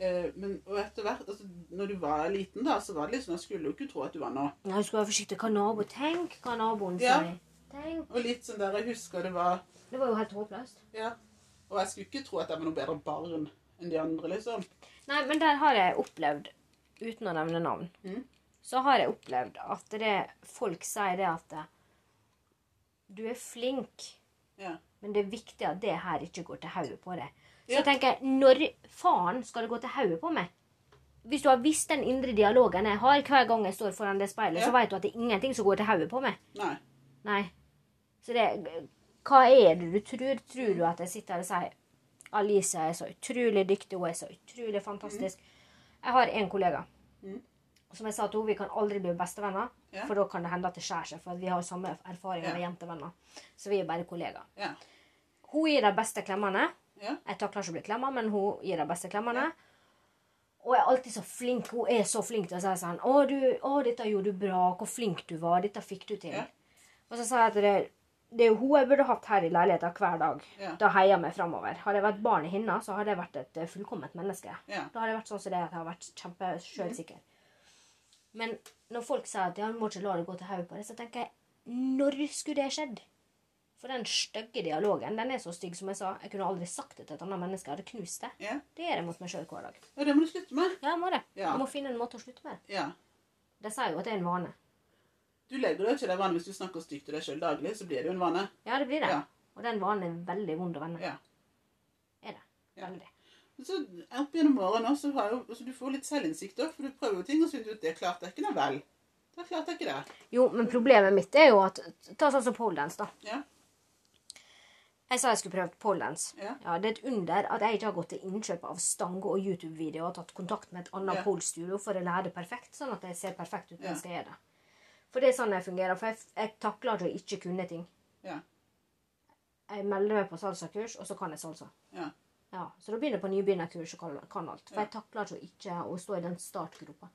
S1: Eh, men og etter hvert, altså, når du var liten, da, så var det liksom Jeg skulle jo ikke tro at du var noe.
S2: Jeg skulle være forsiktig. Hva nabo Tenk hva naboen
S1: Ja.
S2: sier. Tenk.
S1: Og litt sånn der Jeg husker det var
S2: Det var jo helt håpløst.
S1: Ja. Og jeg skulle ikke tro at jeg var noe bedre barn enn de andre, liksom.
S2: Nei, men der har jeg opplevd, uten å nevne navn,
S1: Mm.
S2: så har jeg opplevd at det folk sier det at eh, du er flink,
S1: Ja.
S2: Men det er viktig at det her ikke går til hodet på deg. Så
S1: Ja.
S2: jeg tenker, når faen skal det gå til hodet på meg? Hvis du har visst den indre dialogen jeg har hver gang jeg står foran det speilet,
S1: Ja.
S2: så vet du at det er ingenting som går til hodet på meg.
S1: Nei.
S2: Nei. Så det Hva er det du tror? Tror du at jeg sitter her og sier Alicia er så utrolig dyktig, hun er så utrolig fantastisk. Jeg har en kollega
S1: Mhm.
S2: som jeg sa til henne vi kan aldri bli bestevenner,
S1: Ja.
S2: for da kan det hende at det skjærer seg, for at vi har jo samme erfaringer med
S1: Ja.
S2: jentevenner. Så vi er bare kollegaer.
S1: Ja.
S2: Hun gir de beste klemmene.
S1: Ja.
S2: Jeg takler ikke å bli klemma, men hun gir de beste klemmene. Og jeg er alltid så flink. Hun er så flink til å si sånn 'Å, du, å dette gjorde du bra. Hvor flink du var. Dette fikk du til.'
S1: Ja.
S2: Og så sa jeg at det, det er jo hun jeg burde hatt her i leiligheten hver dag.
S1: Ja.
S2: Da heier jeg meg framover. Hadde jeg vært barn i henne, så hadde jeg vært et eh, fullkomment menneske.
S1: Ja.
S2: Da hadde jeg vært sånn som det at jeg har vært kjempesjølsikker. Men når folk sier at ja, du må ikke la det gå til hodet på deg, så tenker jeg når skulle det skjedd? For den stygge dialogen, den er så stygg som jeg sa. Jeg kunne aldri sagt det til et annet menneske. Jeg hadde knust det.
S1: Ja.
S2: Det gjør jeg mot meg sjøl hver dag.
S1: ja, det må du slutte med.
S2: Ja, jeg må det.
S1: Ja.
S2: Jeg må finne en måte å slutte med det.
S1: Ja.
S2: De sier jo at det er en vane.
S1: Du legger deg jo til deg vanlig hvis du snakker stygt til deg sjøl daglig, så blir det jo en vane.
S2: Ja, det blir det.
S1: Ja.
S2: Og den vanen er veldig vond å vende.
S1: Ja.
S2: Er det.
S1: Ja.
S2: Veldig.
S1: Men Så opp gjennom årene også, så har jo, altså, du får litt selvinnsikt òg, for du prøver jo ting og så finner du ut det klarte jeg ikke, nei vel. Da klarte jeg ikke det.
S2: Jo, men problemet mitt er jo at Ta sånn som poledance, da.
S1: Ja.
S2: Jeg sa jeg skulle prøve poledance.
S1: Ja.
S2: Ja, det er et under at jeg ikke har gått til innkjøp av stang og YouTube-videoer og tatt kontakt med et annet
S1: Ja.
S2: polestudio for å lære det perfekt, sånn at jeg ser perfekt ut når
S1: Ja.
S2: jeg skal gjøre det. For det er sånn jeg fungerer. For jeg, jeg takler ikke å ikke kunne ting.
S1: Ja.
S2: Jeg melder meg på salsakurs, og så kan jeg salsa.
S1: Ja.
S2: Ja, Så da begynner jeg på nybegynnerkurs og kan, kan alt. For
S1: Ja.
S2: jeg takler ikke å ikke å stå i den startgropa.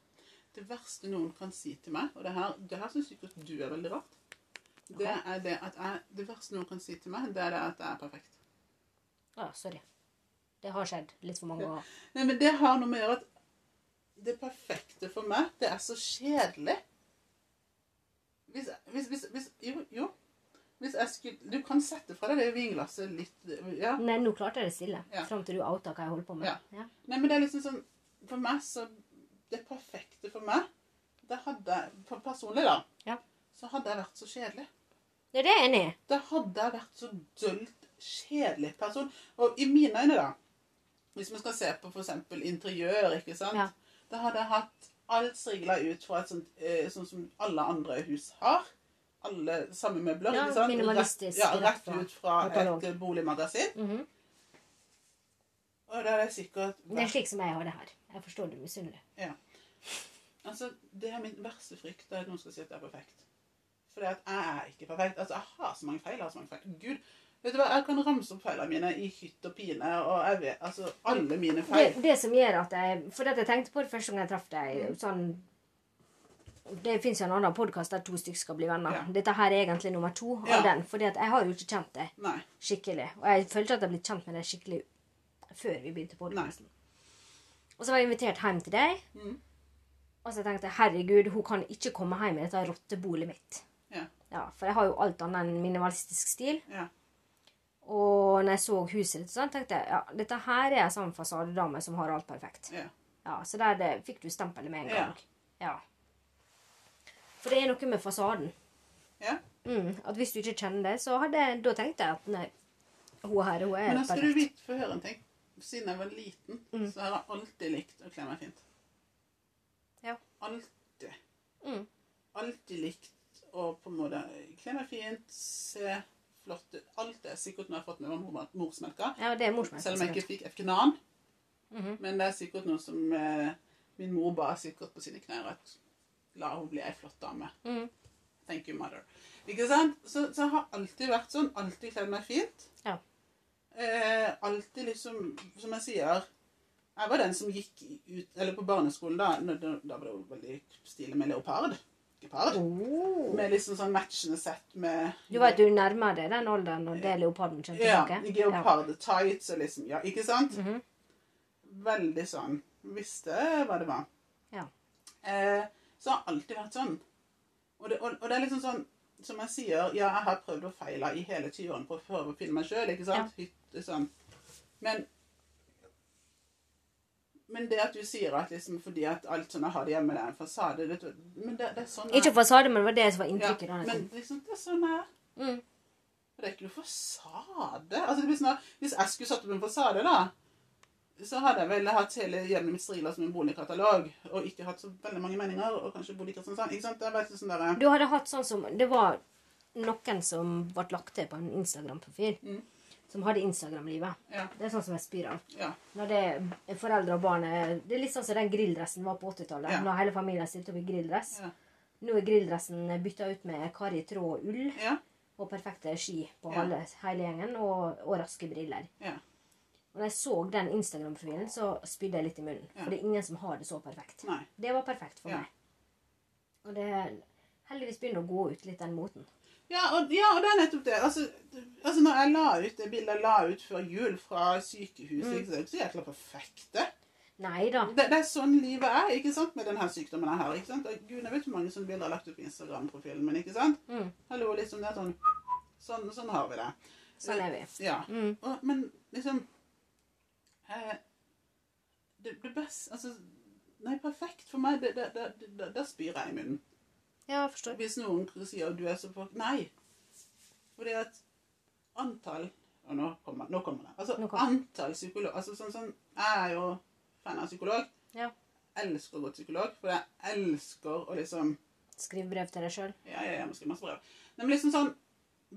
S1: Det verste noen kan si til meg, og det her, det her syns sikkert du er veldig rart, det er det at jeg Det verste noen kan si til meg, det er det at jeg er perfekt.
S2: Ja, sorry. Det har skjedd litt for mange ganger.
S1: Nei, men det har noe med å gjøre at det perfekte for meg, det er så kjedelig. Hvis, hvis, hvis, hvis Jo, jo. Hvis jeg skulle Du kan sette fra deg det vinglasset litt Ja.
S2: Nei, nå klarte jeg det stille.
S1: Ja.
S2: Fram til du outa hva jeg holder på med.
S1: Ja.
S2: Ja.
S1: Nei, men det er liksom sånn For meg så Det perfekte for meg Det hadde jeg for Personlig, da.
S2: Ja.
S1: Så hadde jeg vært så kjedelig.
S2: Ja, det er jeg enig i.
S1: Da hadde jeg vært så dølt kjedelig person. Og i mine øyne, da Hvis vi skal se på f.eks. interiør, ikke sant
S2: Ja.
S1: Da hadde jeg hatt Alt strigla ut fra et sånt eh, sånn som alle andre hus har. Alle samme møbler.
S2: Ja,
S1: ikke sant? Rett,
S2: minimalistisk,
S1: ja,
S2: rett fra-
S1: rett ut fra
S2: fra
S1: et
S2: katalog.
S1: eh, boligmagasin.
S2: Mhm.
S1: Og da er det sikkert
S2: Det er slik som jeg har det her. Jeg forstår du misunnelig.
S1: Altså, det er min verste frykt er at noen skal si at jeg er perfekt. For det at jeg er ikke perfekt. Altså, jeg har så mange feil. Jeg har så mange feil. Gud, vet du hva? Jeg kan ramse opp feilene mine i hytt og pine, og jeg vet altså alle mine
S2: Det,
S1: feil.
S2: det som gjør at jeg For dette jeg tenkte på det første gang jeg traff deg
S1: Mm.
S2: sånn, Det fins jo en annen podkast der to stykker skal bli venner.
S1: Ja.
S2: Dette her er egentlig nummer to
S1: Ja.
S2: av den. fordi at jeg har jo ikke kjent deg
S1: Nei.
S2: skikkelig. Og jeg følte at jeg ble kjent med deg skikkelig før vi begynte podkasten. Og så var jeg invitert hjem til deg.
S1: Mhm.
S2: Og så tenkte jeg herregud, hun kan ikke komme hjem i dette rotteboliget mitt.
S1: Ja.
S2: Ja, For jeg har jo alt annet enn minimalistisk stil.
S1: Ja.
S2: Og når jeg så huset ditt, sånn, tenkte jeg ja, dette her er en sånn fasadedame som har alt perfekt.
S1: Ja.
S2: Ja, Så der det, fikk du stempelet med en
S1: Ja.
S2: gang. Ja. For det er noe med fasaden.
S1: ja.
S2: Mm, at Hvis du ikke kjenner det, så hadde jeg, da tenkte jeg at nei, hun her hun er
S1: Men da skal du
S2: perfekt.
S1: vite, få høre en ting. Siden jeg var liten,
S2: Mm.
S1: så har jeg alltid likt å kle meg fint.
S2: Ja.
S1: Alltid.
S2: Mm.
S1: Alltid likt å på en måte kle meg fint, se flott ut. Alt det er sikkert når jeg har fått med meg mor- morsmelka.
S2: Ja, det er morsmelk. altså.
S1: Selv om jeg
S2: sikkert.
S1: ikke fikk et knan.
S2: Mhm.
S1: Men det er sikkert noe som eh, min mor ba sikkert på sine knær at la henne bli ei flott dame.
S2: Mhm.
S1: Thank you, mother. Ikke sant? Så, så jeg har alltid vært sånn. Alltid kledd meg fint.
S2: Ja.
S1: Eh, alltid liksom, som jeg sier Jeg var den som gikk ut Eller på barneskolen, da, når det- da var det jo veldig stilig med leopard. Gepard.
S2: Oh.
S1: Med liksom sånn matchende sett med
S2: Du vet du nærmer deg den alderen når det er leoparden kommer
S1: Ja.
S2: tilbake?
S1: Geopard-tights og liksom Ja, ikke sant?
S2: Mhm.
S1: Veldig sånn. Visste hva det var.
S2: Ja.
S1: Eh, så har jeg alltid vært sånn. Og det, og, og det er liksom sånn Som jeg sier, ja, jeg har prøvd å feile i hele 20-årene på å prøve å finne meg sjøl, ikke sant? Hytte, sånn. Men men det at du sier at liksom fordi at alt sånn jeg har det hjemme, det er en fasade vet du, Men det, det er sånn jeg-
S2: Ikke fasade, men det var det som var
S1: ja,
S2: inntrykket. da jeg
S1: Men
S2: kom.
S1: liksom, det er sånn jeg er.
S2: Mm.
S1: Og det er ikke noe fasade. Altså, det blir sånn at Hvis jeg skulle satt opp en fasade, da, så hadde jeg vel hatt hele hjemmet mitt strila som en boligkatalog, og ikke hatt så veldig mange meninger, og kanskje bodd i Kristiansand. Ikke sant? Det er bare sånn der,
S2: Du hadde hatt sånn som Det var noen som ble lagt til på en Instagram-profil.
S1: Mm.
S2: Som hadde Instagram-livet.
S1: ja,
S2: Det er sånn som jeg spyr av.
S1: ja,
S2: Når det er foreldre og barn er- Det er litt sånn som den grilldressen var på 80-tallet.
S1: Ja.
S2: Når hele familien stilte opp i grilldress.
S1: Ja.
S2: Nå er grilldressen bytta ut med kar i tråd og ull
S1: ja,
S2: og perfekte ski på
S1: Ja.
S2: alle, hele gjengen og, og raske briller.
S1: ja.
S2: Og når jeg så den Instagram-profilen, så spydde jeg litt i munnen.
S1: Ja.
S2: For det er ingen som har det så perfekt.
S1: Nei.
S2: Det var perfekt for
S1: Ja.
S2: meg. Og det heldigvis begynner å gå ut litt den moten.
S1: Ja og, ja, og det er nettopp det. Altså, det- altså når jeg la ut det bildet jeg la ut før jul fra sykehuset, ikke sant? det er jo ikke så jækla perfekt, det.
S2: Nei da.
S1: Det, det er sånn livet er, ikke sant, med denne sykdommen her. ikke sant? Og Gud, jeg vet hvor mange sånne bilder jeg har lagt ut på Instagram-profilen min, ikke sant?
S2: Mm.
S1: Hallo, liksom, det er sånn, sånn, sånn har vi det.
S2: Sånn er vi.
S1: Ja.
S2: Mm.
S1: Og, men liksom eh, det, det beste Altså, nei, perfekt for meg, det, det, det, det, det, der spyr jeg i munnen.
S2: Ja, jeg forstår.
S1: Hvis noen sier at du er så for... Nei. For det at antall Og nå kommer, nå kommer det. Altså,
S2: Nå kommer
S1: antall psykolog... Altså, sånn, sånn, jeg er jo fan av psykolog.
S2: Ja.
S1: Elsker å gå til psykolog, for jeg elsker å liksom
S2: Skriv brev til deg sjøl.
S1: ja, ja, ja, man skriver masse brev. Nei, men liksom sånn,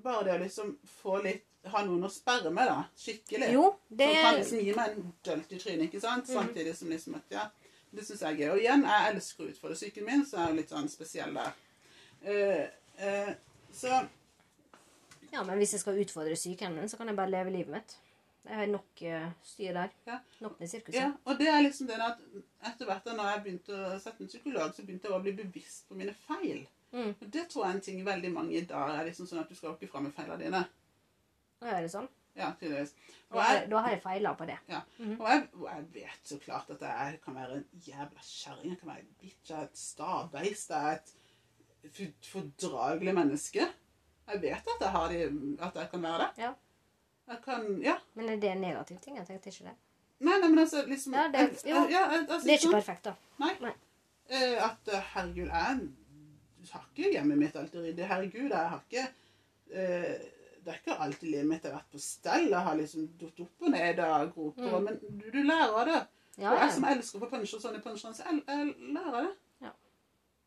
S1: bare det å liksom få litt, ha noen å sperre med da, skikkelig.
S2: Jo, det Mm.
S1: Som kan liksom gi meg en dølt i trynet, ikke sant? Samtidig som liksom at, ja, det synes jeg er gøy. Og igjen, jeg elsker å utfordre psyken min, så jeg er jo litt sånn spesiell der. Eh, eh, så,
S2: Ja, men hvis jeg skal utfordre sykehjemmet, så kan jeg bare leve livet mitt. Jeg har nok eh, styr der.
S1: Ja.
S2: Nok med sirkuset.
S1: ja, og det er liksom det at etter hvert da når jeg begynte å sette en psykolog, så begynte jeg å bli bevisst på mine feil.
S2: Mm.
S1: Og det tror jeg er en ting veldig mange i dag er liksom sånn at du skal ikke frem med feilene dine.
S2: Nå er det sånn.
S1: Ja, tydeligvis. Og
S2: Da
S1: jeg,
S2: har, da Mhm. har jeg feila på det.
S1: Ja. Og, jeg, og jeg vet så klart at jeg kan være en jævla kjerring. Jeg kan være en bitch, jeg er et stabeist, jeg er et for- fordragelig menneske. Jeg vet at jeg, har de, at jeg kan være det.
S2: Ja.
S1: Jeg kan Ja.
S2: Men er det en negativ ting? Jeg tenkte ikke det.
S1: Nei, nei, men altså liksom
S2: Ja, det-
S1: jeg- jeg-
S2: jo.
S1: ja, jeg- altså,
S2: Det er ikke
S1: sånn,
S2: perfekt, da.
S1: Nei.
S2: Nei.
S1: Eh, at eh, herregud, jeg har ikke hjemmet mitt alltid ryddig. Herregud, jeg har ikke eh, Det er ikke alltid livet mitt har vært på stell. Jeg har liksom datt opp og ned av groper.
S2: Mm.
S1: Men du, du lærer av det.
S2: Ja,
S1: Og jeg
S2: jeg,
S1: som elsker å få punsj og sånn i punsjene, så jeg, jeg lærer det.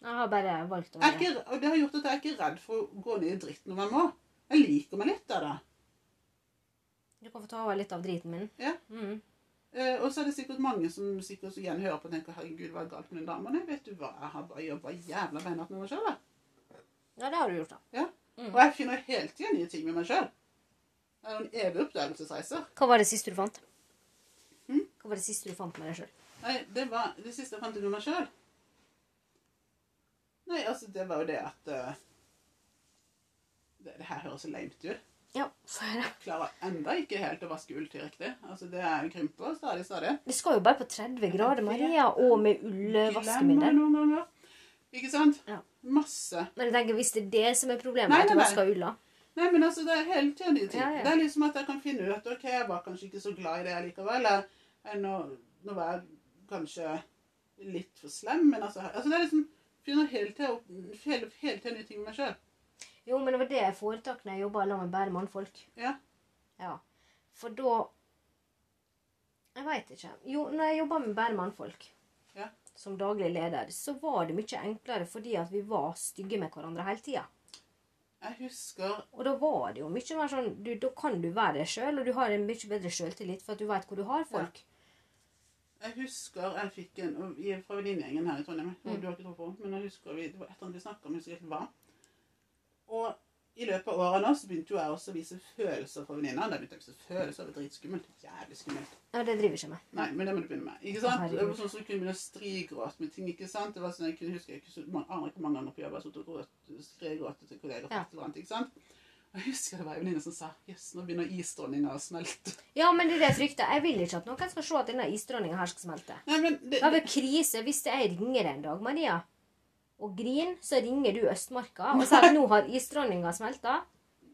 S2: jeg har bare valgt å
S1: Jeg er ikke, og det har gjort at jeg er ikke redd for å gå ned i dritt når jeg må. Jeg liker meg litt av det.
S2: Du kan få ta over litt av driten min.
S1: Ja.
S2: Mm.
S1: Eh, og så er det sikkert mange som sikkert igjen hører på og tenker 'herregud, hva er galt med den dama'? Nei, vet du hva, jeg har bare jobba jævla beinhardt med meg sjøl, jeg.
S2: Ja, det har du gjort, da.
S1: Og jeg finner hele tida nye ting med meg sjøl. Det er noen evige oppdagelsesreiser.
S2: Hva var det siste du fant?
S1: Mm?
S2: Hva var det siste du fant med deg sjøl?
S1: Nei, det var det siste jeg fant ut med meg sjøl. Nei, altså, det var jo det at eh, det, det her høres så lame ut.
S2: Ja, få høre.
S1: klarer enda ikke helt å vaske ulltøy riktig. Altså, det er krymper stadig, stadig.
S2: Vi skal jo bare på 30 grader, Maria, og med
S1: Glemmer
S2: ullvaskemiddel.
S1: noen ganger. Ikke sant?
S2: Ja.
S1: Masse.
S2: Men jeg tenker, hvis det er det som er problemet,
S1: Nei,
S2: at du
S1: nei, nei.
S2: vasker ulla
S1: Nei, men altså, det er hele tiden nye ting.
S2: Ja, ja.
S1: Det er liksom at jeg kan finne ut at ok, jeg var kanskje ikke så glad i det likevel. Jeg- jeg- Nå, nå var jeg kanskje litt for slem, men altså, altså det er liksom finner hele tiden, opp, hele, hele tiden nye ting med meg selv.
S2: Jo, men det var det foretakene jeg jobba sammen med bare mannfolk.
S1: Ja.
S2: Ja. For da Jeg veit ikke. Jo, når jeg jobba med bare mannfolk
S1: Ja.
S2: som daglig leder, så var det mye enklere fordi at vi var stygge med hverandre hele tida.
S1: Jeg husker,
S2: Og da var det jo mye mer sånn du, Da kan du være deg sjøl, og du har en mye bedre sjøltillit for at du veit hvor du har folk.
S1: jeg husker jeg fikk en, og vi er fra venninnegjengen her i Trondheim, og
S2: Mm.
S1: du har ikke tro på, men jeg husker vi, det var et eller annet vi snakket om, jeg husker ikke hva. Og i løpet av årene nå, så begynte jo jeg også å vise følelser for venninna. Da begynte jeg å vise følelser, det var dritskummelt, jævlig skummelt.
S2: Ja, det driver ikke jeg med.
S1: Nei, men det må du begynne med. Ikke
S2: Å,
S1: sant?
S2: herregud.
S1: Det var sånn som jeg kunne begynne å strigråte med ting. ikke sant? Det var sånn, Jeg kunne huske, jeg kunne, man aner ikke hvor mange ganger på jobb jeg satt og gråt- strigråt til kolleger. for
S2: Ja.
S1: et eller annet, ikke sant? Og Jeg husker det var en venninne som sa jøss, nå begynner isdronninga å smelte.
S2: Ja, men det er det jeg frykter. Jeg vil ikke at noen skal se at denne isdronninga her skal smelte.
S1: Nei, men det,
S2: Det er
S1: det,
S2: vel krise hvis jeg ringer deg en dag, Maria, og griner, så ringer du Østmarka og sier at nå har isdronninga smelta.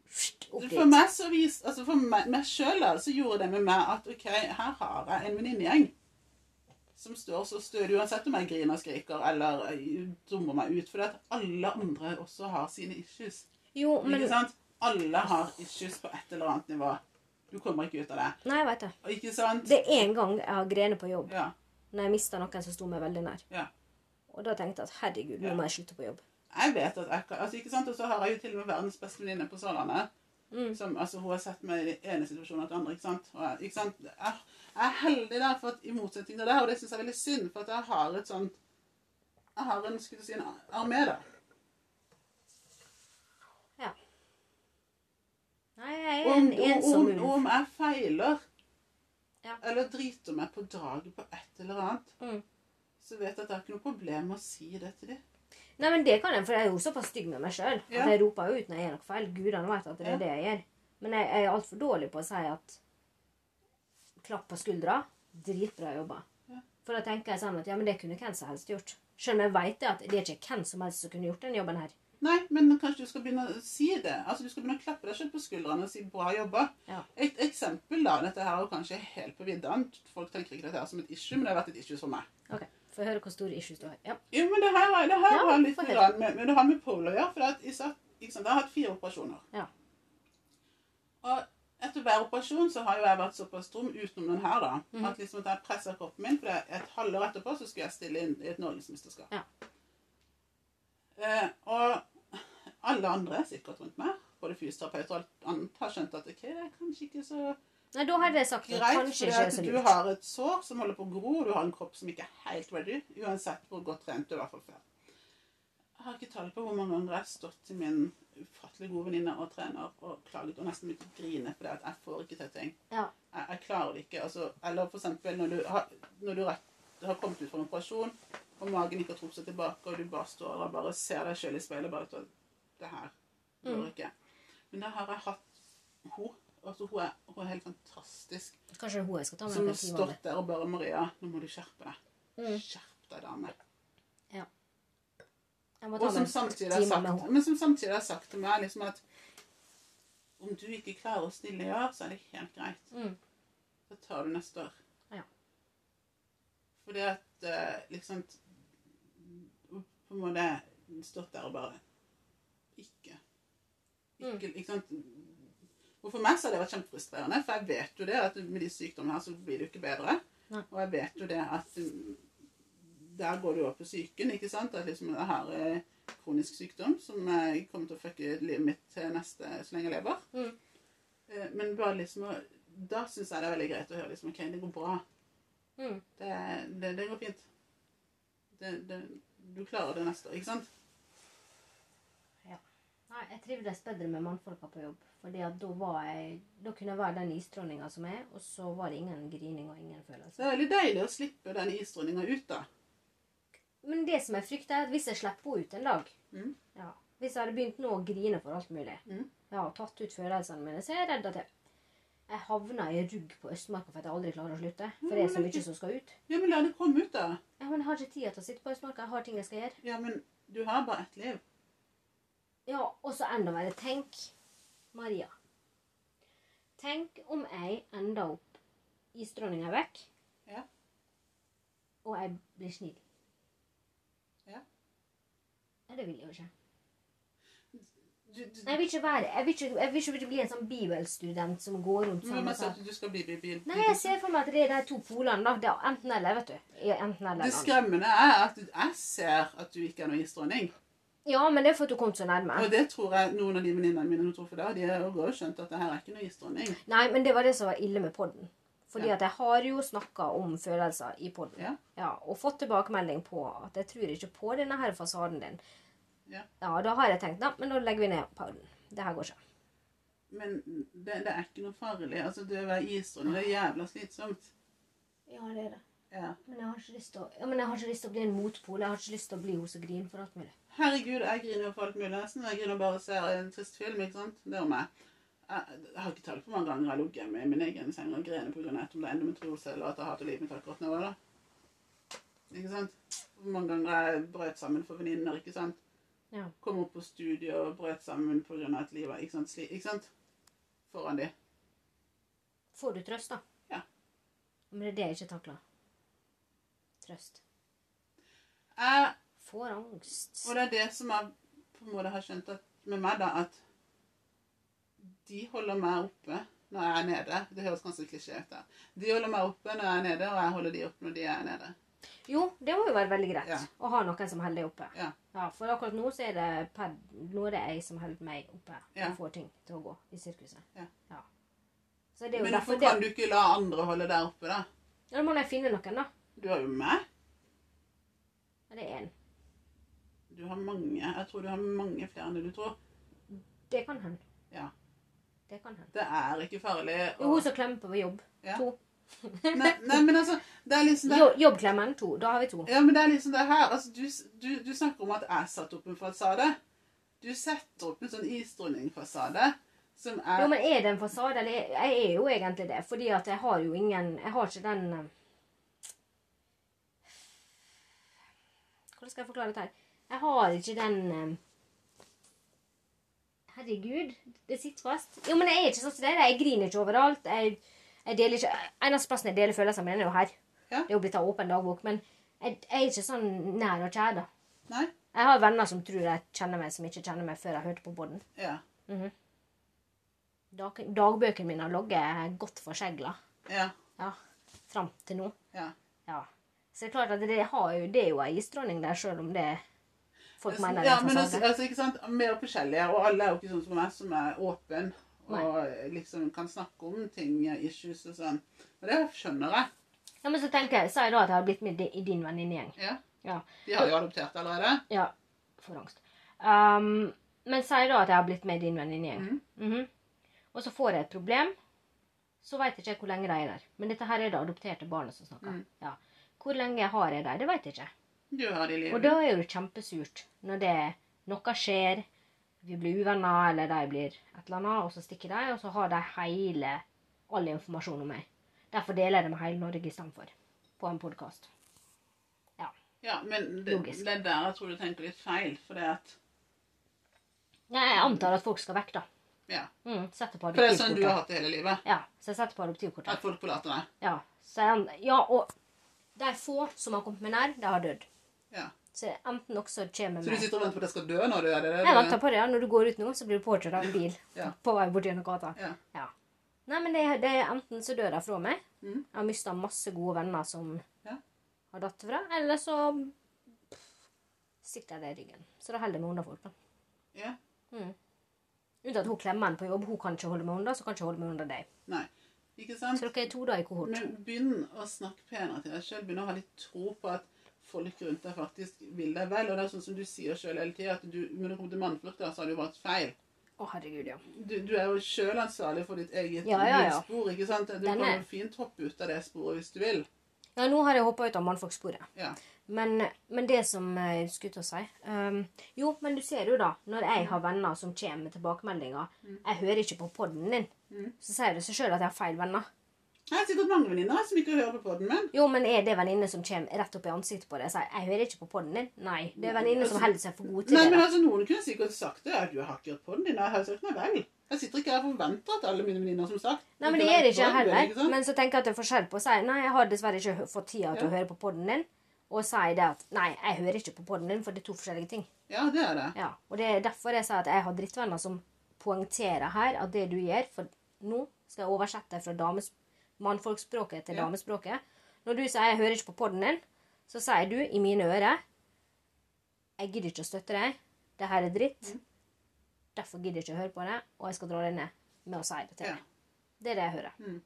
S2: Sht, opp
S1: for
S2: dit.
S1: meg så vis, altså for meg, meg sjøl så gjorde det med meg at OK, her har jeg en venninnegjeng som står så stødig uansett om jeg griner og skriker eller eh, dummer meg ut. For at alle andre også har sine issues.
S2: Jo, men
S1: Ikke sant? Alle har issues på et eller annet nivå. Du kommer ikke ut av det.
S2: Nei, veit du.
S1: Og Ikke sant?
S2: Det er en gang jeg har grenet på jobb,
S1: Ja.
S2: når jeg mista noen som sto meg veldig nær.
S1: Ja.
S2: Og da tenkte jeg at herregud, nå
S1: Ja.
S2: må jeg slutte på jobb.
S1: Jeg vet at jeg kan altså, ikke sant? Og så har jeg jo til og med verdens beste venninne på Sørlandet.
S2: Mm.
S1: Som, altså, hun har sett meg i den ene situasjonen etter den andre. ikke sant? Og, jeg- ikke sant? Jeg, jeg er heldig der, for at, i motsetning til deg, og det syns jeg er veldig synd, for at jeg har et sånt Jeg har en skulle du si, en armé der.
S2: Nei, jeg
S1: Og
S2: er en
S1: Om, og
S2: ensom
S1: om,
S2: ulv.
S1: og om jeg feiler,
S2: Ja.
S1: eller driter meg på draget på et eller annet,
S2: Mm.
S1: så vet jeg at jeg har ikke noe problem med å si det til dem.
S2: Nei, men det kan jeg, for jeg er jo såpass stygg med meg sjøl.
S1: Ja.
S2: At jeg roper jo ut når jeg gjør noe feil. Gudene vet at det er
S1: Ja.
S2: det jeg gjør. Men jeg, jeg er altfor dårlig på å si at klapp på skuldra. Dritbra jobba.
S1: Ja.
S2: For da tenker jeg sånn at ja, men det kunne hvem som helst gjort. Selv om jeg veit at det er ikke hvem som helst som kunne gjort den jobben her.
S1: Nei, men kanskje du skal begynne å si det. Altså, Du skal begynne å klappe deg selv på skuldrene og si 'bra jobba'.
S2: Ja.
S1: Et eksempel, da. Dette her er jo kanskje helt på viddene. Folk tenker ikke dette her som et issue, men det har vært et issue for meg.
S2: Ok, Få høre hvor stor issues du har. Ja.
S1: Jo, men det her, er- det her
S2: Ja,
S1: har litt
S2: få
S1: med,
S2: høre.
S1: med, men det har med polo å gjøre. For det at jeg, satt, ikke sant, jeg har hatt fire operasjoner.
S2: Ja.
S1: Og etter hver operasjon så har jo jeg vært såpass tom utenom den her, da.
S2: Mhm.
S1: At liksom at jeg pressa kroppen min, for det er et halvår etterpå så skulle jeg stille inn i et norgesmesterskap.
S2: Ja.
S1: Eh, og alle andre sikkert rundt meg, både fysioterapeuter og alt annet, har skjønt at OK, det er kanskje ikke så
S2: Nei, da hadde jeg sagt at
S1: greit,
S2: kanskje
S1: for
S2: ikke er
S1: at
S2: så
S1: du
S2: lurt.
S1: har et sår som holder på å gro, og du har en kropp som ikke er helt ready, uansett hvor godt trent du var fra før. Jeg har ikke tall på hvor mange ganger jeg har stått til min ufattelig gode venninne og trener og klaget og nesten begynte å grine fordi at jeg får ikke til ting.
S2: Ja.
S1: Jeg, jeg klarer det ikke. Altså, eller for eksempel når du, har, når du rett, har kommet ut fra en operasjon, og magen ikke har trukket seg tilbake, og du bare står der og bare ser deg selv i speilet bare ut, og det her går
S2: Mm.
S1: ikke. Men da har jeg hatt henne. Altså, hun, er, hun er helt fantastisk
S2: Kanskje det er hun jeg skal ta med
S1: som
S2: meg
S1: har
S2: på timene.
S1: stått der og bare Maria, nå må du skjerpe deg.
S2: Mm.
S1: Skjerp deg, dame.
S2: Jeg må
S1: Og
S2: ta
S1: som
S2: med
S1: samtidig har
S2: timer med
S1: sagt,
S2: henne.
S1: men som samtidig har sagt til meg liksom at om du ikke klarer å stille i år, så er det helt greit.
S2: Mm.
S1: Da tar du neste år.
S2: Ja.
S1: Fordi at eh, liksom På en måte stått der og bare Ikke.
S2: Mm.
S1: Ikke, ikke sant? Og for meg så har det vært kjempefrustrerende, for jeg vet jo det at med de sykdommene her så blir det jo ikke bedre.
S2: Nei.
S1: Og jeg vet jo det at mm, der går det jo opp på psyken, ikke sant? At liksom jeg har eh, kronisk sykdom som eh, kommer til å fucke livet mitt til neste så lenge jeg lever.
S2: Mm.
S1: Eh, Men bare liksom å- Da syns jeg det er veldig greit å høre liksom OK, det går bra.
S2: Mm.
S1: Det, det, det går fint. Det, det, du klarer det neste år, ikke sant?
S2: Nei, jeg trivdes bedre med mannfolka på jobb. Fordi at da, var jeg, da kunne jeg være den isdronninga som er, og så var det ingen grining og ingen
S1: Så
S2: følelser.
S1: det er veldig deilig å slippe den isdronninga ut, da.
S2: Men det som jeg frykter, er at hvis jeg slipper henne ut en dag
S1: Mm.
S2: ja, Hvis jeg hadde begynt nå å grine for alt mulig
S1: Mm.
S2: ja, og tatt ut følelsene mine, så er jeg redd at jeg, jeg havner i rugg på Østmarka for at jeg aldri klarer å slutte. For det er så
S1: men ikke-
S2: mye som skal ut.
S1: Ja, men la det komme ut, da.
S2: Ja, men Jeg har ikke tid til å sitte på Østmarka. Jeg har ting jeg skal gjøre.
S1: Ja, men du har bare ett liv.
S2: Ja, og så enda verre. Tenk, Maria. Tenk om jeg enda opp isdronninga er vekk,
S1: Ja.
S2: og jeg blir snill.
S1: Ja.
S2: Nei, det vil jeg jo ikke.
S1: Du, du,
S2: Nei, Jeg vil ikke være, jeg vil ikke, jeg vil ikke bli en sånn bibelstudent som går rundt
S1: du må
S2: sånn. og
S1: si at
S2: sånn.
S1: altså, du skal bli bibil.
S2: Nei, jeg ser for meg at det er de to polene. da. Det er enten eller, vet du. Ja, Enten eller.
S1: Det
S2: eller.
S1: skremmende er at jeg ser at du ikke er noen isdronning.
S2: Ja, men det er for at du kom så nærme.
S1: Og det tror jeg noen av de venninnene mine hun tror for det, og de har jo skjønt at det her er ikke noen isdronning.
S2: Nei, men det var det som var ille med podden. Fordi
S1: Ja.
S2: at jeg har jo snakka om følelser i podden.
S1: Ja.
S2: og fått tilbakemelding på at jeg tror ikke på denne her fasaden din.
S1: Ja.
S2: da har jeg tenkt da, men da legger vi ned podden. Det her går ikke.
S1: Men det, det er ikke noe farlig. Altså, det å være isdronning det er jævla slitsomt.
S2: Ja, det er det.
S1: Ja.
S2: Men jeg har ikke lyst til å, ja, men jeg har ikke lyst til å bli en motpol. Jeg har ikke lyst til å bli hun som griner for alt mulig.
S1: Herregud, jeg griner jo for alt mulig nesten. Jeg griner bare og ser en trist film, ikke sant? Det er meg. Jeg, jeg har ikke talt på hvor mange ganger jeg har ligget hjemme i min egen seng og grener pga. om det er endometriose eller at jeg hater livet mitt akkurat nå. Eller? Ikke sant? Hvor mange ganger jeg brøt sammen for venninner, ikke sant?
S2: Ja.
S1: Kom opp på studiet og brøt sammen pga. at livet ikke sant? Sli, ikke sant? Foran de.
S2: Får du trøst, da?
S1: Ja.
S2: Men det er det jeg ikke takler. Trøst.
S1: Jeg,
S2: Får angst.
S1: og det er det som jeg på en måte har skjønt at, med meg, da, at de holder meg oppe når jeg er nede. Det høres kanskje klisjé ut, da. De holder meg oppe når jeg er nede, og jeg holder de oppe når de er nede.
S2: Jo, det må jo være veldig greit
S1: Ja.
S2: å ha noen som holder deg oppe.
S1: Ja.
S2: For akkurat nå så er det per, nå er det jeg som holder meg oppe
S1: Ja.
S2: og får ting til å gå i sirkuset.
S1: Ja.
S2: Så det er jo
S1: Men hvorfor
S2: derfor det,
S1: kan du ikke la andre holde der oppe, da?
S2: Da må jeg finne noen, da.
S1: Du har jo meg.
S2: Ja, Det er en.
S1: Du har mange. Jeg tror du har mange flere enn det du tror.
S2: Det kan hende.
S1: Ja.
S2: Det kan hende.
S1: Det er ikke farlig.
S2: Jo, hun som klemmer på ved jobb.
S1: Ja.
S2: To.
S1: Nei, nei, men altså, det er liksom det
S2: Jo, jobbklemmen, to. Da har vi to.
S1: Ja, men det er liksom det her. Altså, du, du, du snakker om at jeg satte opp en fasade. Du setter opp en sånn isdronningfasade som er
S2: Jo, men er det en fasade? Eller er- jeg er jo egentlig det. Fordi at jeg har jo ingen Jeg har ikke den eh, Hvordan skal jeg forklare dette her? Jeg har ikke den eh, Herregud, det sitter fast. Jo, men jeg er ikke sånn som deg. Jeg griner ikke overalt. Jeg, jeg deler ikke Eneste plassen jeg deler følelser med, den er jo her.
S1: Ja.
S2: Det er jo blitt av åpen dagbok. Men jeg, jeg er ikke sånn nær og kjær, da.
S1: Nei?
S2: Jeg har venner som tror jeg kjenner meg, som ikke kjenner meg før jeg hørte på podden.
S1: Ja.
S2: Dag, dagbøkene mine har ligget godt forsegla.
S1: Ja.
S2: Ja, fram til nå.
S1: ja.
S2: Ja. Så det er klart at det, har jo, det er jo ei isdronning der, sjøl om det folk mener det
S1: ja,
S2: er
S1: men altså,
S2: fasade.
S1: altså, ikke sant? Mer forskjellige, og alle er jo ikke sånn som meg, som er åpen og liksom kan snakke om ting, issues og sånn. Og det skjønner jeg.
S2: Ja, men så tenker jeg, Sier da at jeg har blitt med i din venninnegjeng.
S1: Ja.
S2: Ja.
S1: De har jo adoptert allerede.
S2: ja. For angst. Um, men sier da at jeg har blitt med i din venninnegjeng.
S1: Mhm.
S2: Mhm. Og så får jeg et problem, så veit ikke jeg hvor lenge de er der. Men dette her er det adopterte barnet som snakker.
S1: Mhm.
S2: Ja. Hvor lenge har jeg dem? Det veit jeg ikke.
S1: Du har de i
S2: Og
S1: livet.
S2: da er det jo kjempesurt når det noe skjer, vi blir uvenner, eller de blir et eller annet, og så stikker de, og så har de hele, all informasjon om meg. Derfor deler jeg det med hele Norge istedenfor, på en podkast.
S1: Ja, men det,
S2: Logisk.
S1: det der jeg tror du tenker litt feil, for det at
S2: Jeg antar at folk skal vekk, da.
S1: Ja.
S2: Mm, setter på
S1: For det er sånn du har
S2: adoptivkortet.
S1: hatt det hele livet.
S2: Ja, så jeg setter på adoptivkortet.
S1: At folk forlater deg.
S2: Ja, så jeg, ja, og de få som har kommet meg nær, de har dødd.
S1: Ja.
S2: Så enten også kommer
S1: Så du
S2: meg
S1: sitter og venter på at jeg skal dø når du gjør det? det-
S2: Jeg venter på det. ja. Når du går ut nå, så blir du påkjørt av en bil
S1: Ja.
S2: på vei bort gjennom gata.
S1: Ja.
S2: Nei, men det, det er enten så dør jeg fra meg.
S1: Mm.
S2: Jeg har mista masse gode venner som
S1: Ja.
S2: har datt fra. Eller så pff, sitter jeg det i ryggen. Så da holder jeg meg unna folk. da.
S1: Ja.
S2: Mm. Unntatt hun klemmeren på jobb. Hun kan ikke holde meg unna, så kan ikke jeg holde meg unna deg.
S1: Nei. Ikke sant?
S2: Så dere er to da i kohort.
S1: Men begynn å snakke penere til deg sjøl. Begynn å ha litt tro på at folk rundt deg faktisk vil deg vel. Og det er sånn som du sier sjøl hele tida, at du, når det kom til mannflørter, så har det jo vært feil.
S2: Mm. Å, herregud, ja.
S1: Du, du er jo sjøl ansvarlig for ditt eget
S2: Ja, ja, ja.
S1: livsspor. ikke sant? Du
S2: Den
S1: kan
S2: er-
S1: jo fint hoppe ut av det sporet hvis du vil.
S2: Ja, nå har jeg hoppa ut av mannfolksporet.
S1: Ja.
S2: Men, men det som jeg skulle til å si ehm, Jo, men du ser jo da, når jeg har venner som kommer med tilbakemeldinger Jeg hører ikke på podden din.
S1: Mm.
S2: Så sier det seg sjøl at jeg har feil venner. Jeg
S1: Jeg har sikkert mange venninner som ikke hører på podden min.
S2: Jo, men er det venninne som kommer rett opp i ansiktet på deg og sier 'Jeg hører ikke på podden din'? Nei. Det er venninne som holder seg for god
S1: altså,
S2: til
S1: Nei,
S2: det.
S1: men
S2: da.
S1: altså, Noen kunne sikkert sagt det. at du har ikke hørt på den din. og Jeg har jo sagt meg vel. Jeg sitter ikke her og forventer at alle mine venninner som sagt
S2: Nei, men det
S1: ikke
S2: gjør
S1: hører på
S2: ikke jeg
S1: den, ikke
S2: heller.
S1: sant?
S2: Men så tenker jeg at det er forskjell på å si 'Nei, jeg har dessverre ikke hø- fått tida til å
S1: Ja.
S2: høre på podden din', og si det at 'Nei, jeg hører ikke på podden din', for det er to forskjellige ting.
S1: Ja, det er det.
S2: Ja, og det er derfor jeg sier at jeg har drittvenner som poengterer her at det du gjør For nå skal jeg oversette fra dames, mannfolkspråket til
S1: Ja.
S2: damespråket. Når du sier 'jeg hører ikke på podden din', så sier du i mine ører 'jeg gidder ikke å støtte deg, det her er dritt',
S1: Mm.
S2: derfor gidder jeg ikke å høre på det, og jeg skal dra deg ned med å si det til
S1: Ja.
S2: deg. Det er det jeg hører.
S1: Mm.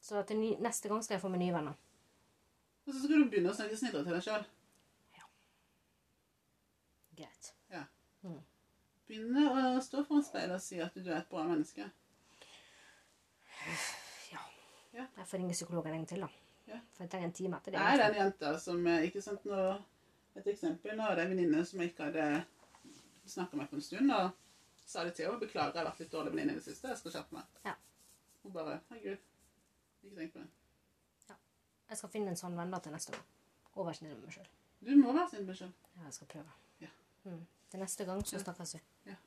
S2: Så til ny, neste gang skal jeg få meg nye venner.
S1: Og så skal du begynne å snakke snillere til deg sjøl.
S2: Greit. Mm.
S1: Begynne å stå foran speilet og si at du er et bra menneske.
S2: Jeg får ringe psykologen en gang til, da.
S1: Ja.
S2: For jeg trenger en time etter det. i
S1: Jeg er
S2: hvert fall.
S1: den jenta som eh, ikke sant, nå, Et eksempel nå er det en venninne som jeg ikke hadde snakka med på en stund, og sa det til henne. 'Beklager, jeg har vært litt dårlig venninne i det siste. Jeg skal skjerpe meg.'
S2: Ja.
S1: Hun bare 'Herregud, ikke tenk på det'.
S2: Jeg skal finne en sånn venn da til neste gang. Og være snill med meg sjøl.
S1: Du må være snill med deg sjøl.
S2: Ja, jeg skal prøve.
S1: Ja.
S2: Mm. Til neste gang så snakkes vi.
S1: Ja.